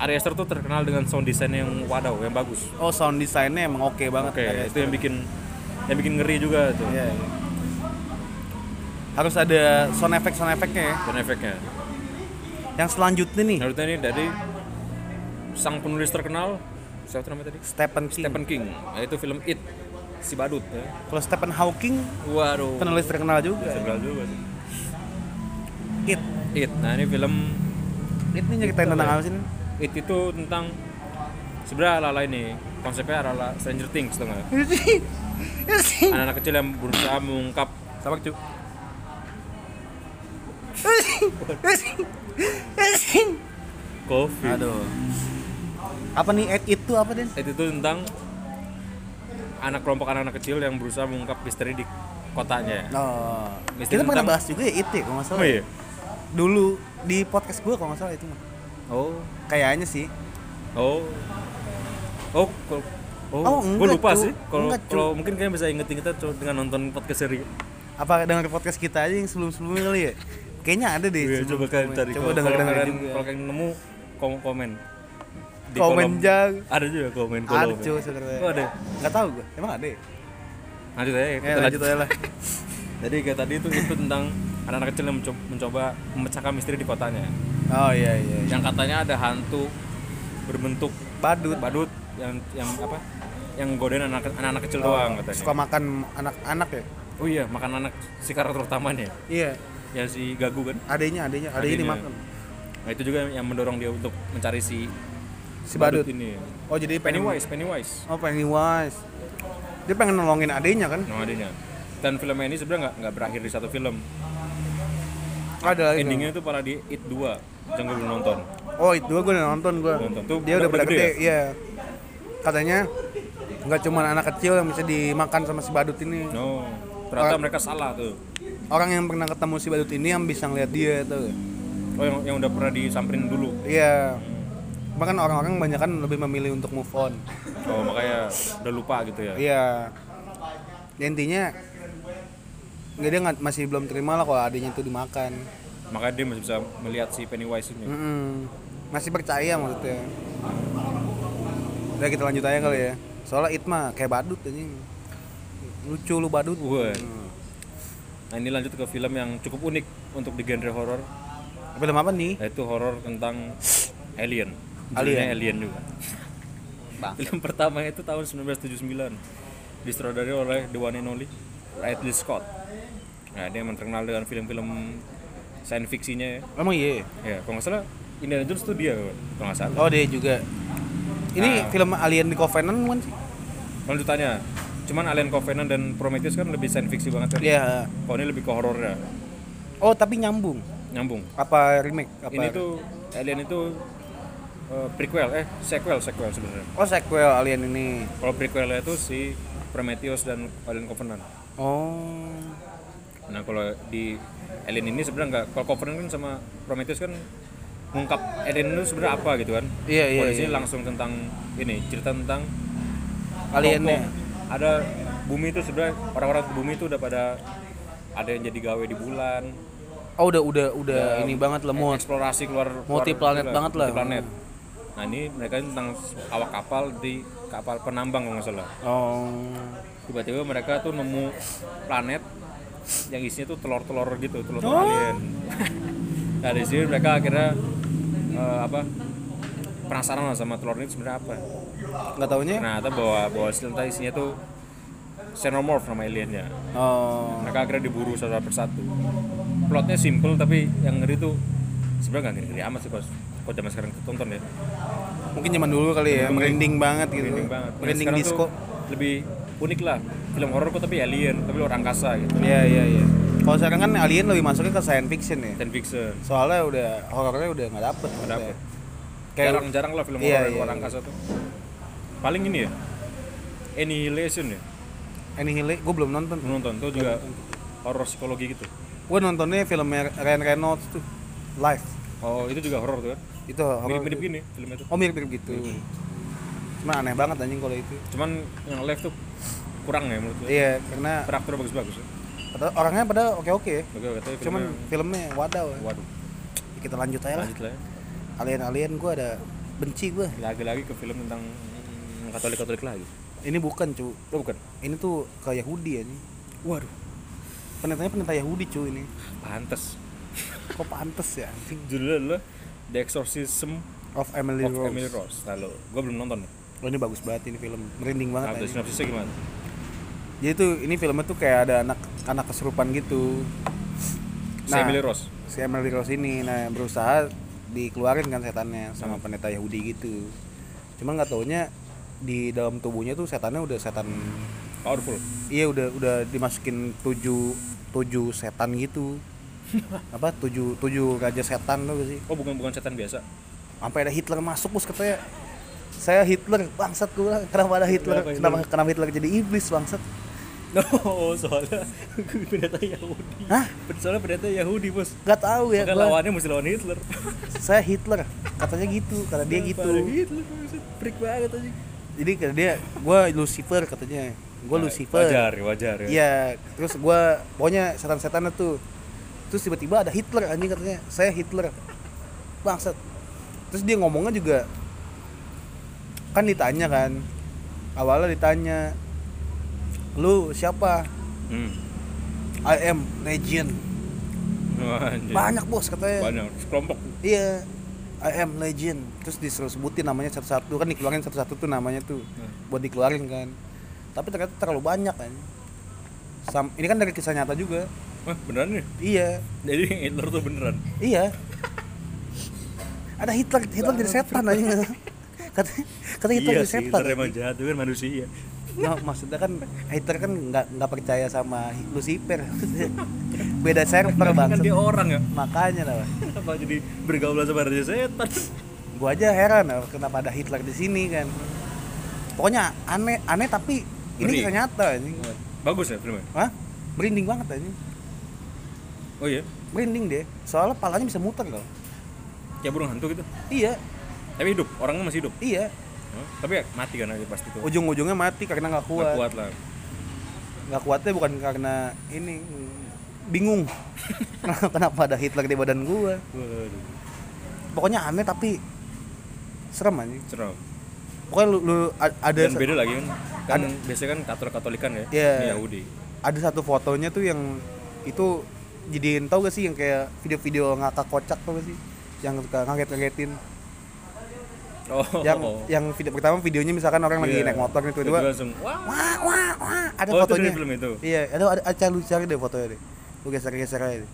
B: Ari Aster tuh terkenal dengan sound design yang wadaw yang bagus
A: oh sound desainnya emang oke banget
B: oke
A: Kayak-
B: itu yang bikin yang bikin ngeri juga tuh
A: Iya, iya. harus ada sound effect sound effectnya ya
B: dan efeknya
A: yang selanjutnya nih
B: Naruto ini dari sang penulis terkenal siapa tuh namanya tadi
A: Stephen King
B: Stephen King Nah, itu film It si badut ya.
A: kalau Stephen Hawking
B: waduh
A: penulis terkenal juga
B: Terkenal juga sih.
A: It
B: It nah ini film
A: It nih nyeritain tentang apa sih nih?
B: It itu tentang sebenarnya ala-ala ini konsepnya ala Stranger Things tuh nggak? anak-anak kecil yang berusaha mengungkap
A: sama cu
B: COVID
A: aduh apa nih It itu apa Den?
B: It itu tentang anak kelompok anak-anak kecil yang berusaha mengungkap misteri di kotanya
A: Oh, kita
B: Misteri
A: pernah
B: tentang-
A: bahas juga ya It ya kalau nggak salah
B: iya?
A: dulu di podcast gue kalau nggak salah itu mah.
B: oh
A: kayaknya sih
B: Oh. Oh, kol- oh,
A: Oh,
B: gue
A: enggak,
B: lupa
A: Cu.
B: sih. Kalau
A: Enggak, Cu.
B: kalau mungkin kalian bisa ingetin kita tuh dengan nonton podcast seri.
A: apa dengar podcast kita aja yang sebelum-sebelumnya kali ya kayaknya ada deh
B: Iya, coba kalian
A: sebelum-sebelumnya.
B: cari.
A: coba
B: Kalau-
A: denger
B: kalau
A: denger
B: kalian-
A: juga
B: Kalau kalian nemu kom komen. Di
A: komen
B: kolom.
A: jang
B: Ada juga komen
A: ada
B: kolom.
A: cuy sebenarnya
B: Oh, ada.
A: nggak tahu gue emang ada ya
B: Lanjut aja.
A: ya
B: Kita
A: lanjut aja lah
B: Jadi kayak tadi itu itu tentang anak-anak kecil yang mencoba, mencoba memecahkan misteri di kotanya.
A: oh iya iya iya.
B: Yang katanya ada hantu berbentuk
A: badut
B: badut yang yang apa? Yang godain anak anak kecil doang katanya.
A: suka makan anak-anak ya
B: Oh iya, makan anak si karakter utamanya.
A: iya
B: Ya si Gagu kan.
A: adanya adanya adanya
B: Adenya.
A: dimakan
B: Nah itu juga yang mendorong dia untuk mencari si
A: si badut
B: ini.
A: oh jadi pengen
B: Pennywise, Pennywise.
A: oh Pennywise dia pengen nolongin adenya kan
B: Nama adanya. Dan filmnya ini sebenarnya nggak nggak berakhir di satu film.
A: ada lagi
B: Endingnya itu para di It 2 jangan belum nonton.
A: Oh itu gue udah nonton gue.
B: Nonton. Tuh,
A: Dia udah
B: udah
A: pada
B: gede ya?
A: gede, iya. Katanya nggak cuma anak kecil yang bisa dimakan sama si badut ini.
B: No. Ternyata mereka salah tuh.
A: Orang yang pernah ketemu si badut ini yang bisa ngeliat dia itu.
B: Oh yang, yang udah pernah disamperin dulu.
A: Iya. Bahkan orang-orang banyak kan lebih memilih untuk move on.
B: Oh makanya udah lupa gitu ya.
A: Iya. Ya, Intinya nggak dia nggak- masih belum terima lah kalau adanya itu dimakan.
B: Makanya dia masih bisa melihat si Pennywise ini.
A: Mm-mm. Masih percaya maksudnya. Udah kita lanjut aja kali ya. Soalnya Itma kayak badut anjing. Lucu lu badut.
B: Wah. Nah ini lanjut ke film yang cukup unik untuk di genre horor.
A: Film apa nih?
B: Yaitu horor tentang alien.
A: Alien.
B: Judulnya alien juga. Film pertama itu tahun 1979 Disutradarai oleh The One and Only Ridley Scott Nah dia memang terkenal dengan film-film science fiksinya ya
A: Emang iya.
B: Ya kalau nggak salah Indiana Jones itu dia kalau nggak salah
A: Oh dia juga. Ini
B: Ah.
A: film Alien di Covenant bukan sih?
B: Lanjutannya Cuman Alien Covenant dan Prometheus kan lebih science fiksi banget kan
A: Iya.
B: Kalau ini lebih ke horornya
A: Oh tapi nyambung.
B: Nyambung
A: Apa remake? Apa?
B: Ini tuh Alien itu eh, prequel eh sequel sequel sebenarnya
A: Oh sequel Alien ini.
B: Kalau prequelnya itu si Prometheus dan Alien Covenant
A: Oh.
B: Nah kalau di Alien ini sebenarnya nggak kalau Covenant kan sama Prometheus kan mengungkap Alien itu sebenarnya apa gitu kan?
A: Iya iya.
B: Kalau di
A: iya.
B: sini langsung tentang ini cerita tentang
A: Aliennya.
B: kelompok. Ada bumi itu sebenarnya orang-orang di bumi itu udah pada ada yang jadi gawe di bulan,
A: Oh udah udah udah
B: Ya,
A: ini banget lemot.
B: eksplorasi keluar, keluar
A: Multiplanet
B: gila,
A: banget lah.
B: multiplanet. Nah ini mereka ini tentang awak kapal di kapal penambang kalau nggak salah.
A: Oh.
B: Tiba-tiba mereka tuh nemu planet yang isinya tuh telur-telur gitu, telur
A: Oh.
B: alien. nah di sini mereka akhirnya eh, apa penasaran lah sama telur ini sebenarnya apa. Nah,
A: Nggak taunya?
B: Ternyata bahwa bahwa ternyata isinya tuh xenomorph nama aliennya.
A: Oh.
B: Mereka akhirnya diburu satu persatu. Plotnya simple tapi yang ngeri tuh sebenarnya nggak ngeri-ngeri amat sih bos. Kok zaman sekarang kita tonton ya,
A: Mungkin zaman dulu kali ya. Merinding banget gitu.
B: merinding banget. Nah,
A: Merinding
B: sekarang
A: disco.
B: tuh lebih unik lah film horor kok tapi alien tapi luar angkasa gitu.
A: Iya iya iya. Kalau sekarang kan alien lebih masuknya ke science fiction ya.
B: Science fiction.
A: Soalnya udah horornya udah nggak dapet. maksudnya.
B: dapet.
A: Kayak
B: Jarang-jarang lah film
A: Iya,
B: horor
A: iya,
B: luar
A: iya.
B: angkasa tuh. Paling ini ya. Annihilation ya.
A: Annihilate, gue belum nonton.
B: Menonton tuh juga horor psikologi gitu.
A: Gue nontonnya filmnya Ryan Reynolds tuh, live.
B: Oh, itu juga horor tuh kan.
A: Itu horor.
B: Mirip-mirip gini filmnya tuh.
A: Oh mirip-mirip gitu. Cuman aneh banget anjing kalau itu.
B: Cuman yang live tuh kurang ya menurut gue.
A: Iya, karena
B: Karakter bagus-bagus ya.
A: padahal- orangnya pada oke-oke ya.
B: Oke, katanya
A: Cuman
B: filmnya-
A: filmnya wadaw. ya.
B: waduh.
A: Kita lanjut aja lah.
B: Lanjut lah. ya.
A: Alien-alien gue ada benci gue.
B: Lagi-lagi ke film tentang mm, Katolik-Katolik lagi.
A: Ini bukan cu,
B: Oh, bukan.
A: ini tuh ke Yahudi anjing.
B: Waduh.
A: Penentanya penentang Yahudi cu ini.
B: Pantes.
A: Kok pantes ya anjing?
B: Judulnya adalah The Exorcism
A: Of Emily
B: of
A: Rose.
B: Emily Rose. Lalu, gue belum nonton nih.
A: Oh, ini bagus banget ini film, merinding banget.
B: Apa
A: anjing.
B: sinopsisnya gimana?
A: Jadi tuh ini filmnya tuh kayak ada anak anak kesurupan gitu.
B: Si
A: Nah.
B: Emily Rose.
A: Si Emily Rose ini nah berusaha dikeluarin kan setannya sama
B: Hmm.
A: pendeta Yahudi gitu. Cuma nggak taunya di dalam tubuhnya tuh setannya udah setan
B: Powerful.
A: iya udah udah dimasukin tujuh tujuh setan gitu. apa tujuh tujuh raja setan tuh sih
B: Oh, bukan bukan setan biasa.
A: sampai ada Hitler masuk bos katanya saya Hitler bangsat gue kenapa ada Hitler
B: Kenapa Hitler?
A: kenapa kenapa Hitler jadi iblis bangsat
B: No, soalnya pendeta Yahudi.
A: Hah?
B: Soalnya pendeta Yahudi, Bos.
A: nggak tahu ya
B: Maka
A: gua.
B: lawannya mesti lawan Hitler.
A: saya Hitler katanya gitu kata dia gitu
B: Pada Hitler, buset. Freak banget aja.
A: jadi kata dia gue Lucifer katanya gue Lucifer
B: Nah, Wajar, wajar ya.
A: iya terus gue pokoknya setan-setan tuh terus tiba-tiba ada Hitler anjing katanya saya Hitler bangsat terus dia ngomongnya juga kan ditanya kan awalnya ditanya lu siapa
B: Hmm.
A: I am legend
B: Anjir.
A: banyak bos katanya
B: Iya. Banyak. Kelompok.
A: Iya, I am legend. Terus disuruh sebutin namanya satu-satu kan dikeluarin satu-satu tuh namanya tuh
B: Hmm.
A: buat dikeluarin kan. Tapi ternyata terlalu banyak kan. Sam- ini kan dari kisah nyata juga.
B: Wah, beneran nih.
A: Iya,
B: Jadi Hitler tuh beneran.
A: iya. Ada Hitler, Hitler jadi setan aja. Kata, kata Hitler
B: iya
A: jadi
B: sih,
A: setan. ya.
B: Hitler emang jahat, itu kan manusia.
A: Nah, maksudnya kan Hitler kan nggak nggak percaya sama Lucifer. Beda server
B: Kan
A: banget.
B: dia orang ya.
A: Makanya lah.
B: Kenapa jadi bergaul sama raja setan?
A: gua aja heran eh, kenapa ada Hitler di sini kan pokoknya aneh aneh tapi ini
B: Ngeri.
A: kisah nyata ini
B: Bagus ya filmnya?
A: Hah? merinding banget ini
B: Oh iya,
A: merinding deh soalnya palanya bisa muter loh
B: kayak burung hantu gitu.
A: iya
B: Tapi hidup, orangnya masih hidup.
A: iya
B: Hah? Tapi ya mati kan aja pasti tuh.
A: ujung-ujungnya mati karena nggak
B: Nggak
A: kuat
B: kuat lah.
A: nggak kuatnya bukan karena ini mm, bingung kenapa ada Hitler di badan gua
B: Waduh,
A: pokoknya aneh tapi serem anjing
B: serem.
A: pokoknya lu, lu a- ada sa-
B: Dan beda lagi kan. Kan biasanya kan Katolik Katolikan ya.
A: Iya.
B: Ini Yahudi.
A: ada satu fotonya tuh yang itu jadiin tau gak sih yang kayak video-video ngakak kocak tau gak sih yang suka ngaget-ngagetin
B: Oh.
A: yang yang video pertama videonya misalkan orang Iya, lagi
B: Iya.
A: naik motor nih tiba-tiba
B: Tiba-tiba langsung wah.
A: wah wah wah ada
B: Oh, itu
A: fotonya
B: dari film itu?
A: iya ada ada ada cari- cari deh fotonya deh lu geser-geser aja deh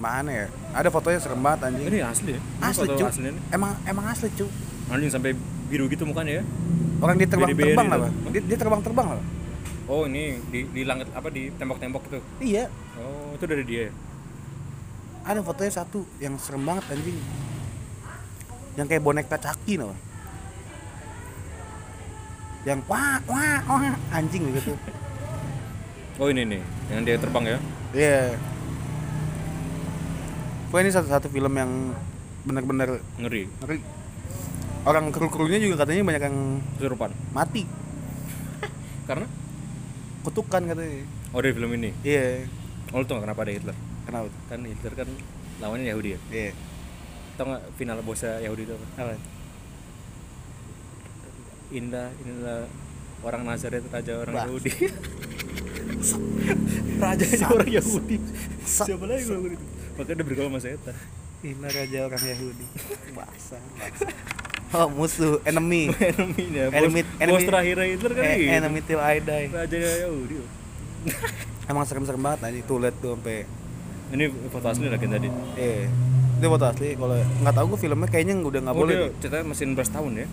A: mana ya ada fotonya serem banget anjing
B: Ini asli ya. Ini
A: asli
B: foto
A: cu
B: aslinya nih.
A: emang emang asli cu
B: Anjing sampai biru gitu mukanya ya.
A: orang dia
B: Beri-beri
A: terbang-terbang lah
B: tuh.
A: Bang. dia, dia terbang-terbang lah
B: Oh, ini di, di langit apa di tembok-tembok itu.
A: iya
B: Oh, itu dari dia ya.
A: ada fotonya satu yang serem banget anjing yang kayak boneka caki loh yang wah wah wah anjing gitu
B: Oh, ini nih. Yang dia terbang ya.
A: iya Pokoknya ini satu-satu film yang bener-bener
B: Ngeri.
A: ngeri orang kru-krunya juga katanya banyak yang
B: Kesurupan.
A: mati
B: Karena
A: kutukan katanya
B: oh dari film ini.
A: iya
B: Oh, lu tau nggak kenapa ada Hitler?
A: kenapa tuh?
B: Kan Hitler kan lawannya Yahudi ya.
A: iya
B: Tau nggak final bosnya Yahudi itu apa?
A: apa
B: Indah, inilah orang Nazaret raja orang
A: Bah.
B: Yahudi. raja orang Yahudi.
A: Sa-
B: Siapa lagi kalau bukan itu? Makanya dia bergaul sama setan.
A: ini raja orang Yahudi bahasa bahasa oh musuh enemy
B: enemy ya. Bos,
A: Enemy-
B: bos
A: enemy-
B: terakhirnya Hitler kan
A: Eh,
B: gitu.
A: enemy till I die
B: Raja Yahudi.
A: emang serem-serem banget anjing tuh liat tuh sampai
B: Ini foto asli lagi tadi.
A: eh itu foto asli kalau nggak tahu gue filmnya kayaknya udah nggak
B: Oh,
A: boleh
B: dia
A: deh.
B: Ceritanya masih 16 tahun ya.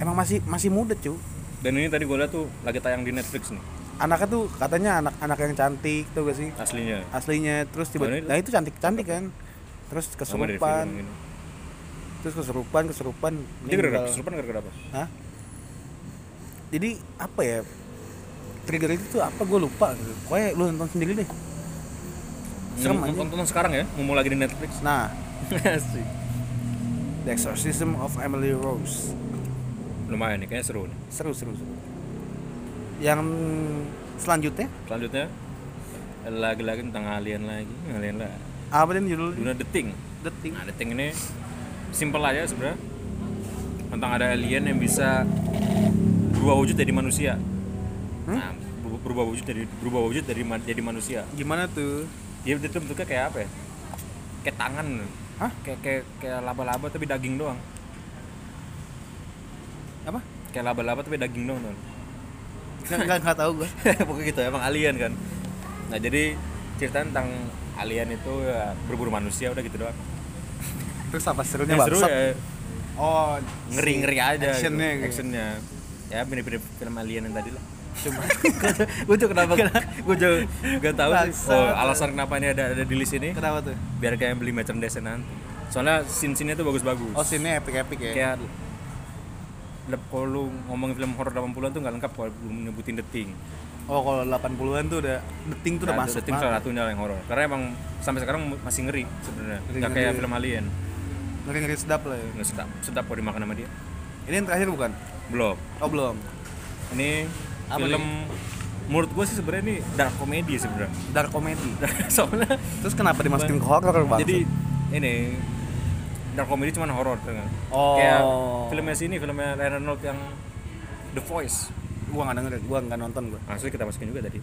A: emang masih masih muda cu
B: Dan ini tadi gue lihat tuh lagi tayang di Netflix nih.
A: anaknya tuh katanya anak-anak yang cantik tuh gak sih
B: aslinya
A: aslinya terus tiba
B: Mana itu?
A: nah itu cantik cantik kan terus
B: Sama dari
A: kesurupan
B: film ini.
A: terus kesurupan kesurupan
B: Dia gara-gara
A: meninggal.
B: kesurupan gara-gara apa?
A: Hah? Jadi apa ya? Trigger itu tuh apa gue lupa gitu. Pokoknya lu nonton sendiri deh. Serem aja.
B: Hmm. Nonton sekarang ya, mau lagi di Netflix.
A: Nah,
B: Asik.
A: The Exorcism of Emily Rose.
B: Lumayan nih, kayaknya seru nih.
A: Seru, seru, seru. Yang selanjutnya
B: Selanjutnya lagi-lagi tentang alien lagi, alien lah.
A: apa nih judulnya?
B: Luna The Thing.
A: The Thing.
B: Nah, The Thing ini simple aja sebenarnya. Tentang ada alien yang bisa berubah wujud jadi manusia. Nah, ber- berubah wujud dari berubah wujud dari ma- jadi manusia.
A: Gimana tuh?
B: Dia itu bentuknya kayak apa ya? Kayak tangan.
A: Hah?
B: Kayak kayak kayak laba-laba tapi daging doang.
A: Apa?
B: Kayak laba-laba tapi daging doang. Ton.
A: Nggak nggak nggak tahu gue.
B: pokoknya gitu emang alien kan nah jadi cerita tentang alien itu ya, berburu manusia udah gitu doang
A: Terus apa serunya
B: Yang seru
A: bangsat?
B: ya
A: Oh,
B: ngeri ngeri aja
A: Actionnya
B: gitu.
A: gitu.
B: actionnya ya mirip-mirip film alien yang tadi lah cuma gue tuh kenapa gue juga gak tahu sih
A: Bangsat.
B: oh, alasan kenapa ini ada ada di list ini
A: Kenapa tuh?
B: biar kayak beli merchandise nanti soalnya scene scene tuh bagus-bagus
A: Oh, sini epic epic ya.
B: kayak lep- kalau lu ngomongin film horor 80-an tuh nggak lengkap kalau belum nyebutin The Thing
A: Oh, kalau 80-an tuh udah The Thing tuh udah
B: Nah,
A: masuk
B: The Thing
A: banget.
B: salah satunya yang horor. Karena emang sampai sekarang masih ngeri sebenarnya. Enggak kayak film Alien.
A: Ngeri-ngeri sedap lah ya.
B: Nggak sedap, sedap kalau dimakan sama dia.
A: Ini yang terakhir bukan?
B: Belum.
A: Oh, belum.
B: Ini
A: Apa
B: film menurut gue sih sebenarnya ini dark comedy sebenarnya.
A: Dark comedy.
B: Soalnya
A: Terus kenapa dimasukin ke horor bang?
B: jadi ini dark comedy cuman horor kan.
A: Oh.
B: Kayak filmnya sini filmnya Ryan Reynolds yang The Voice.
A: gua nggak dengerin, gua nggak nonton gua.
B: Langsung kita masukin juga tadi.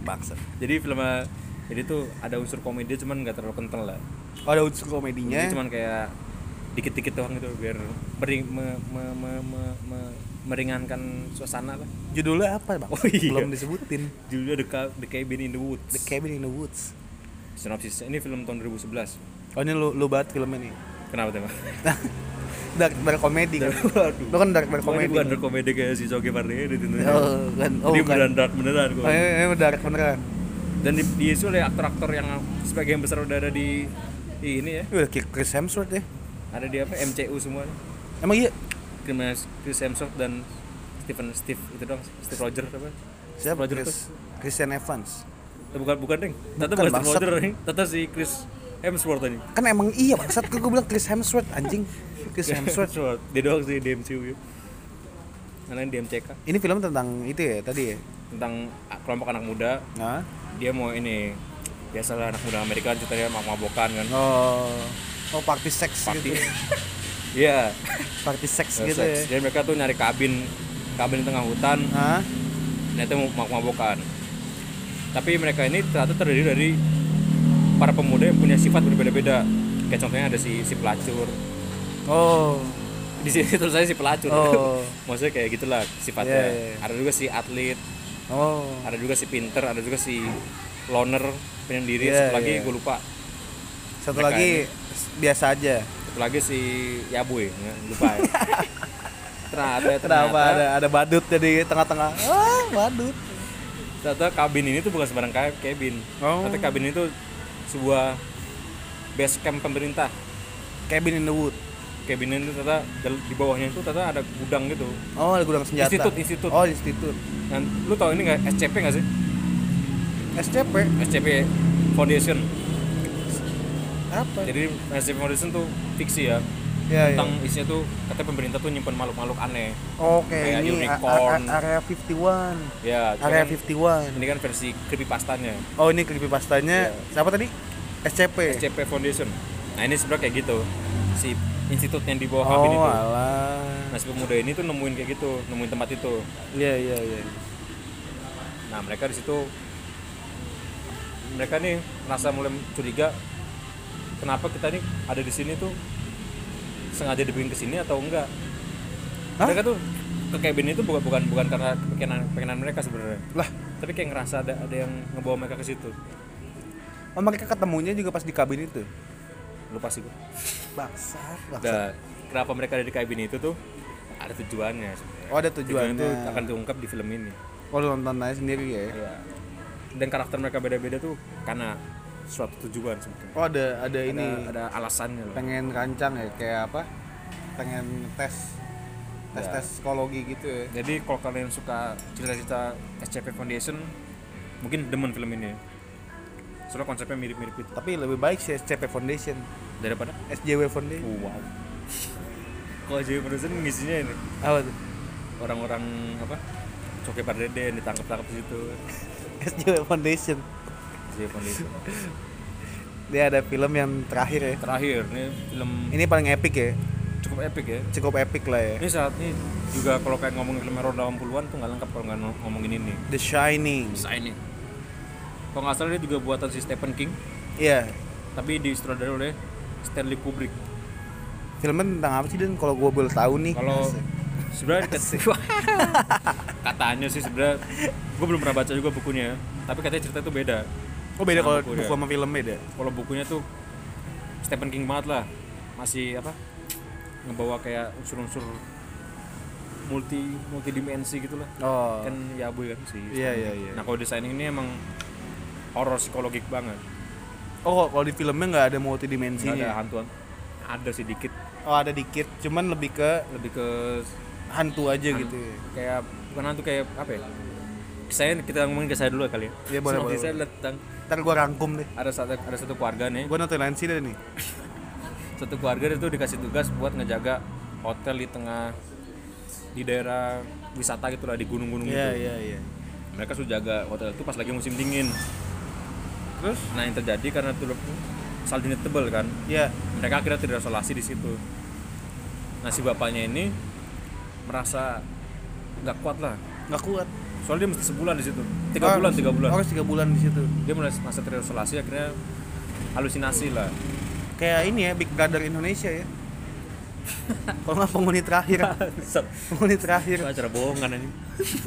A: Bangsat.
B: jadi filmnya jadi tuh ada unsur komedi cuman nggak terlalu kental lah.
A: Oh, ada unsur
B: Jadi
A: komedinya.
B: cuman kayak dikit-dikit doang gitu biar meri- me- me- me- me- me- meringankan suasana lah.
A: Judulnya apa bang?
B: Oh, iya.
A: Belum disebutin.
B: Judulnya The, Ca- The Cabin in the Woods.
A: The Cabin in the Woods.
B: Sinopsis ini film tahun 2011.
A: Oh ini lu, lu banget film ini.
B: Kenapa tuh? Bang?
A: dark dark comedy kan.
B: Waduh.
A: Lu kan dark dark
B: Ini
A: comedy.
B: bukan dark comedy kayak si Joge Pardede itu.
A: Oh, kan. Oh,
B: Ini
A: bukan.
B: beneran dark beneran kok.
A: Oh, ini, ini dark beneran.
B: Dan di, diisi oleh aktor-aktor yang sebagian besar udah ada di, di ini ya.
A: Ini udah kayak Chris Hemsworth ya.
B: Ada di apa? MCU semua.
A: Emang iya
B: Chris Chris Hemsworth dan Stephen Steve itu dong. Steve Roger apa?
A: siapa
B: Roger
A: Chris? Christian Evans.
B: Eh, bukan bukan ding. Tata
A: Bukan,
B: bukan Steve
A: bangsat.
B: Roger nih. Tata si Chris Hemsworth ini.
A: Kan emang iya maksud gue bilang Chris Hemsworth anjing. Chris Hemsworth.
B: Dia doang sih di MCU. Karena di MCK
A: Ini film tentang itu ya tadi ya.
B: tentang a- kelompok anak muda
A: Nah.
B: dia mau ini biasalah anak muda Amerika ceritanya mabok mabokan kan
A: Oh. Oh, party sex
B: party
A: gitu.
B: iya
A: Party sex
B: seks.
A: gitu ya. Ah.
B: jadi mereka tuh nyari kabin kabin di tengah hutan
A: Hah?
B: ternyata mau mabok mabokan tapi mereka ini ternyata terdiri dari para pemuda yang punya sifat berbeda-beda kayak contohnya ada si si pelacur
A: Oh.
B: di sini terus saya si pelacur
A: Oh.
B: maksudnya kayak gitulah
A: Iya,
B: sifatnya
A: iya, iya.
B: ada juga si atlet
A: Oh.
B: ada juga si pinter ada juga si loner penyendiri
A: Iya,
B: satu lagi
A: iya.
B: gue lupa
A: Satu
B: Mereka
A: lagi s- biasa aja.
B: satu lagi si yaboy ya, lupa ya. ternyata
A: Kenapa
B: ternyata,
A: ada ada badut jadi tengah-tengah? Ah, badut.
B: ternyata kabin ini tuh bukan sembarang ka- kabin
A: Oh.
B: ternyata kabin itu sebuah base camp pemerintah
A: Cabin in the wood.
B: kabin itu ternyata dal- di bawahnya itu ternyata ada gudang gitu
A: Oh, ada gudang senjata.
B: Institut, institut.
A: Oh, institut.
B: dan lu tau ini nggak SCP nggak sih
A: SCP
B: SCP Foundation
A: apa?
B: jadi SCP Foundation tuh fiksi ya
A: ya, ya.
B: tentang isinya tuh katanya pemerintah tuh nyimpen makhluk-makhluk aneh
A: Oke,
B: kayak
A: ini a-
B: unicorn.
A: a- a- area 51.
B: ya cuma
A: Area
B: kan
A: 51.
B: ini Iya. kan versi creepypastanya
A: Oh, ini creepypastanya siapa tadi? SCP.
B: SCP Foundation nah ini sebenarnya kayak gitu si institut yang di bawah kabin
A: Oh,
B: itu
A: alah.
B: nah si pemuda ini tuh nemuin kayak gitu nemuin tempat itu
A: Iya, iya, iya.
B: nah mereka di situ mereka nih merasa mulai curiga kenapa kita nih ada di sini tuh sengaja dibikin ke sini atau enggak
A: Hah?
B: mereka tuh ke cabin itu bukan bukan bukan karena kepengenan kepengenan mereka sebenarnya
A: Lah,
B: tapi kayak ngerasa ada ada yang ngebawa mereka ke situ
A: oh, mereka ketemunya juga pas di kabin itu.
B: lupa sih gue
A: Bangsat, bangsat.
B: Nah, kenapa mereka ada di cabin itu tuh ada tujuannya sebenarnya
A: Oh, ada
B: tujuan
A: tujuannya.
B: itu akan diungkap di film ini
A: Oh lu nonton aja sendiri ya?
B: Iya. dan karakter mereka beda-beda tuh karena suatu tujuan sebetulnya
A: Oh ada ada ini
B: ada, ada alasannya loh
A: pengen rancang ya kayak apa? Pengen tes tes tes
B: Iya.
A: psikologi gitu ya?
B: jadi kalau kalian suka cerita-cerita SCP Foundation mungkin demen film ini soalnya konsepnya mirip-mirip itu
A: Tapi lebih baik sih SCP Foundation,
B: daripada
A: SJW Foundation.
B: wow kalau jadi produsen ngisinya ini
A: Apa tuh?
B: orang-orang apa Coki Pardede yang ditangkap-tangkap di situ Iya,
A: SJW Foundation.
B: SCP Foundation
A: Dia ada film yang terakhir ya.
B: terakhir ini film
A: Ini paling epic ya.
B: cukup epic ya
A: Cukup epic lah ya.
B: ini saat ini juga kalau kayak ngomongin film horor 80-an tuh nggak lengkap kalau nggak ngomongin ini
A: The Shining.
B: ini kalau nggak salah dia juga buatan si Stephen King
A: Iya.
B: tapi disutradarai oleh Stanley Kubrick
A: Filmnya tentang apa sih Dan? Kalau gue boleh tahu nih.
B: kalau sebenarnya ket- katanya sih sebenarnya gue belum pernah baca juga bukunya tapi katanya cerita itu beda
A: Oh beda kalau
B: Buku, ya.
A: buku sama film beda.
B: kalau bukunya tuh Stephen King banget lah masih apa ngebawa kayak unsur-unsur multi multidimensi gitu lah
A: Oh.
B: kan ya abu kan sih
A: Iya iya iya.
B: nah kalau desain ini emang horor psikologik banget
A: Oh kalau di filmnya nggak ada
B: nggak ada
A: multidimensinya.
B: hantuan ada sedikit
A: Oh ada dikit, cuman lebih ke
B: lebih ke
A: hantu aja gitu. ya.
B: kayak bukan hantu kayak apa ya saya kita ngomongin ke saya dulu kali ya
A: Iya, boleh, boleh,
B: Sinopsis saya tentang
A: Ntar gue rangkum deh.
B: ada satu ada satu keluarga nih
A: Gue nonton lain sih deh nih.
B: satu keluarga itu dikasih tugas buat ngejaga hotel di tengah di daerah wisata gitu lah di gunung-gunung gitu.
A: iya iya.
B: Mereka sudah jaga hotel itu pas lagi musim dingin.
A: Terus?
B: Nah yang terjadi karena tuh saljunya tebal kan,
A: Iya.
B: mereka akhirnya terisolasi di situ. Nah si bapaknya ini merasa nggak kuat lah,
A: Nggak kuat.
B: soalnya dia mesti sebulan di situ, tiga
A: Ah,
B: bulan tiga bulan.
A: Harus tiga bulan di situ.
B: Dia mulai masa terisolasi akhirnya halusinasi lah.
A: Kayak ini ya Big Brother Indonesia ya. kalau nggak penghuni terakhir, penghuni terakhir.
B: Itu acara bohongan ini.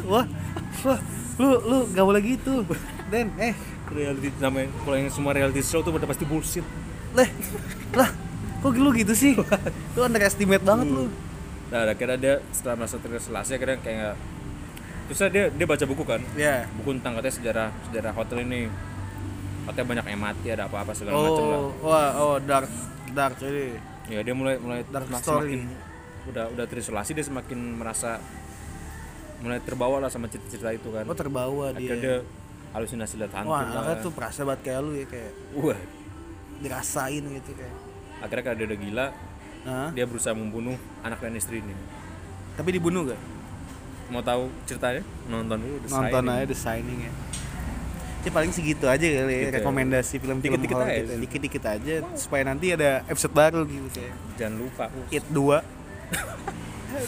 A: Wah, wah, lu lu nggak boleh gitu. Den, eh,
B: reality namanya kalau yang semua reality show tuh udah pasti bullshit
A: leh, lah, kok lu gitu sih? Lu underestimate banget lu.
B: nah akhirnya dia setelah merasa terisolasi akhirnya kayak nggak- terus dia dia baca buku kan
A: Ya.
B: buku tentang katanya sejarah sejarah hotel ini katanya banyak yang mati ada apa apa segala macam lah
A: Oh, wah, oh dark dark ini.
B: ya dia mulai mulai
A: Dark
B: semak-
A: story.
B: semakin udah udah terisolasi dia semakin merasa mulai terbawa lah sama cerita-cerita itu kan
A: Gua Oh, terbawa
B: akhirnya
A: dia.
B: dia halusinasi lihat hantu
A: Wah,
B: lah.
A: anaknya tuh perasa banget kayak lu ya kayak
B: wah
A: dirasain gitu kayak.
B: akhirnya karena dia udah gila
A: Hah?
B: dia berusaha membunuh anak dan istrinya
A: Tapi dibunuh gak?
B: mau tahu ceritanya nonton dulu The
A: Nonton
B: Shining.
A: aja The Shining ya. Ya paling segitu aja kali ya,
B: Gitu ya.
A: rekomendasi film-film
B: Dikit-dikit
A: horor
B: aja.
A: kita. Dikit-dikit aja supaya nanti ada episode baru gitu kayak
B: jangan lupa
A: It 2.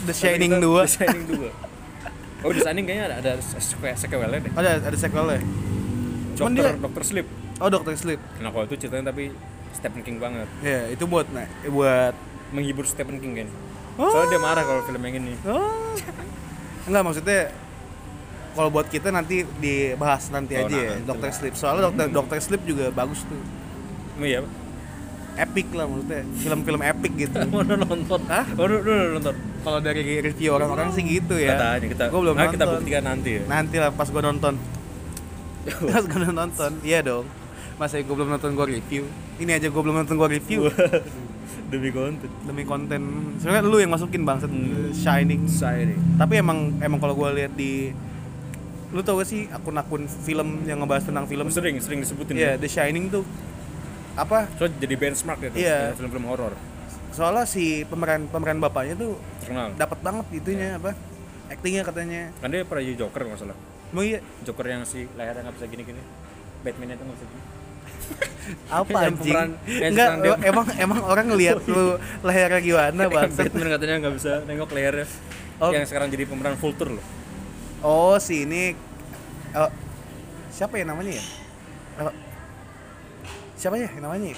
A: The Shining 2.
B: The Shining 2 oh The Shining kayaknya ada, ada sequel sequelnya deh
A: Oh, Ada ada sequelnya. Cuman
B: Dokter,
A: dia-
B: Dokter Sleep
A: Oh, Doctor Sleep.
B: nah kalau itu ceritanya tapi Stephen King banget
A: Ya, itu buat nah, buat
B: menghibur Stephen King kan soalnya dia marah kalau film yang ini
A: Oh. Enggak maksudnya kalau buat kita nanti dibahas nanti
B: Oh,
A: aja
B: nah,
A: ya
B: nanti
A: Dokter
B: lah. Hmm.
A: Sleep. Soalnya Dokter Dokter Sleep juga bagus tuh.
B: oh, iya
A: Epic lah maksudnya, film-film epic gitu.
B: mau udah nonton
A: Hah?
B: oh, udah, udah nonton
A: kalau dari review orang-orang sih gitu ya.
B: katanya kita
A: Gua belum
B: nah,
A: nonton. Nah.
B: kita buktikan nanti ya
A: Nanti lah pas gue nonton. pas gue nonton, iya dong. Masa gue belum nonton gue review. Ini aja gue belum nonton gue review
B: demi konten
A: demi konten. Sebenarnya lu yang masukin bangset
B: Hmm.
A: Shining.
B: Shining
A: Tapi emang emang kalau gue lihat di lu tau gak sih akun-akun film yang ngebahas tentang film?
B: film sering sering disebutin
A: Iya, The Shining tuh apa?
B: so jadi benchmark gitu
A: Iya.
B: dengan film-film horor
A: Soalnya si pemeran pemeran bapaknya tuh
B: terkenal
A: dapat banget itunya
B: Iya.
A: apa? Actingnya katanya.
B: kan dia pernah jadi Joker nggak salah
A: Emang iya
B: Joker yang si lehernya nggak bisa gini-gini Batman itu nggak bisa gini
A: apa
B: Yang
A: anjing?
B: pemeran- yang
A: Enggak,
B: sekarang dia-
A: emang emang orang ngelihat lu lehernya gimana bangsat.
B: Batman katanya nggak bisa nengok lehernya
A: Oh.
B: yang sekarang jadi pemeran Vulture loh
A: Oh, si ini oh, siapa ya namanya ya? Oh, siapa ya namanya? ya?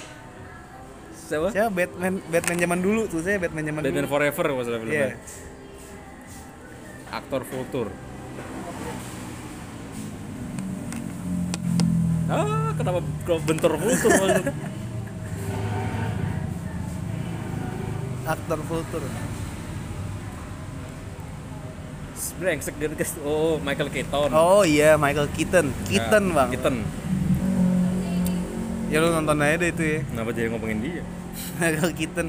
B: siapa?
A: Siapa Batman Batman zaman dulu tuh saya Batman zaman
B: Batman
A: dulu.
B: Forever kalau salah filmnya
A: Iya.
B: aktor Vulture ah kenapa kalau bentur Vulture maksudnya?
A: Aktor kultur.
B: brengsek dia guys oh Michael Keaton
A: Oh iya Michael Keaton,
B: Ya,
A: Keaton bang.
B: Keaton
A: Ya lu nonton aja deh itu ya
B: kenapa jadi ngomongin dia
A: Michael Keaton.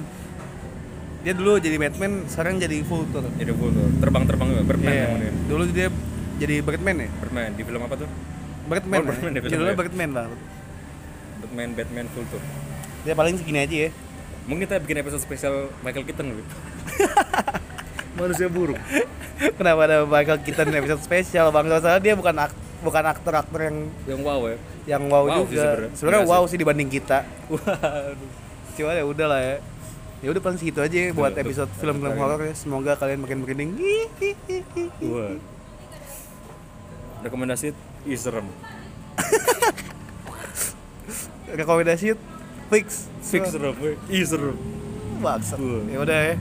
A: Dia dulu jadi Batman, sekarang jadi Vulture.
B: jadi gue terbang-terbang juga Birdman
A: Iya.
B: namanya.
A: Dulu dia jadi Batman ya.
B: Birdman di film apa tuh
A: Batman.
B: Oh,
A: ya?
B: Batman dia bilang
A: Judulnya
B: ya.
A: Batman bang.
B: Batman Batman full tour
A: Dia paling segini aja ya.
B: mungkin kita bikin episode spesial Michael Keaton gitu manusia buruk
A: Kenapa ada Michael Keaton episode spesial bang? Soalnya dia bukan ak- bukan aktor-aktor yang
B: yang wow ya
A: yang wow,
B: Wow sih
A: juga.
B: sebenarnya.
A: Sebenarnya
B: Enggak
A: wow sih dibanding kita.
B: waduh
A: Cuma ya udah lah ya. Ya udah paling segitu aja ya buat
B: Betul,
A: episode
B: betul.
A: film-film
B: Betul.
A: horor ya. Semoga kalian makin merinding.
B: Wah. Rekomendasi ih serem.
A: Rekomendasi fix.
B: Fix serem, weh. ih serem.
A: Baksa.
B: Wah.
A: Ya udah ya.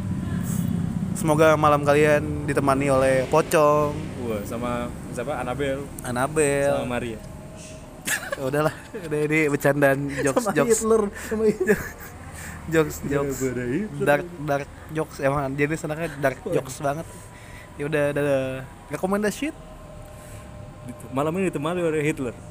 A: Semoga malam kalian ditemani oleh Pocong,
B: Wah, sama siapa? Anabel sama
A: Anabel.
B: Maria.
A: Ya udahlah, udah ini bercandaan jokes jokes
B: sama Iya,
A: jokes jokes
B: Gara-gara Hitler.
A: dark dark jokes emang jadi senangnya dark jokes banget. Ya udah, dadah. Rekomendasi
B: Malam ini ditemani oleh Hitler.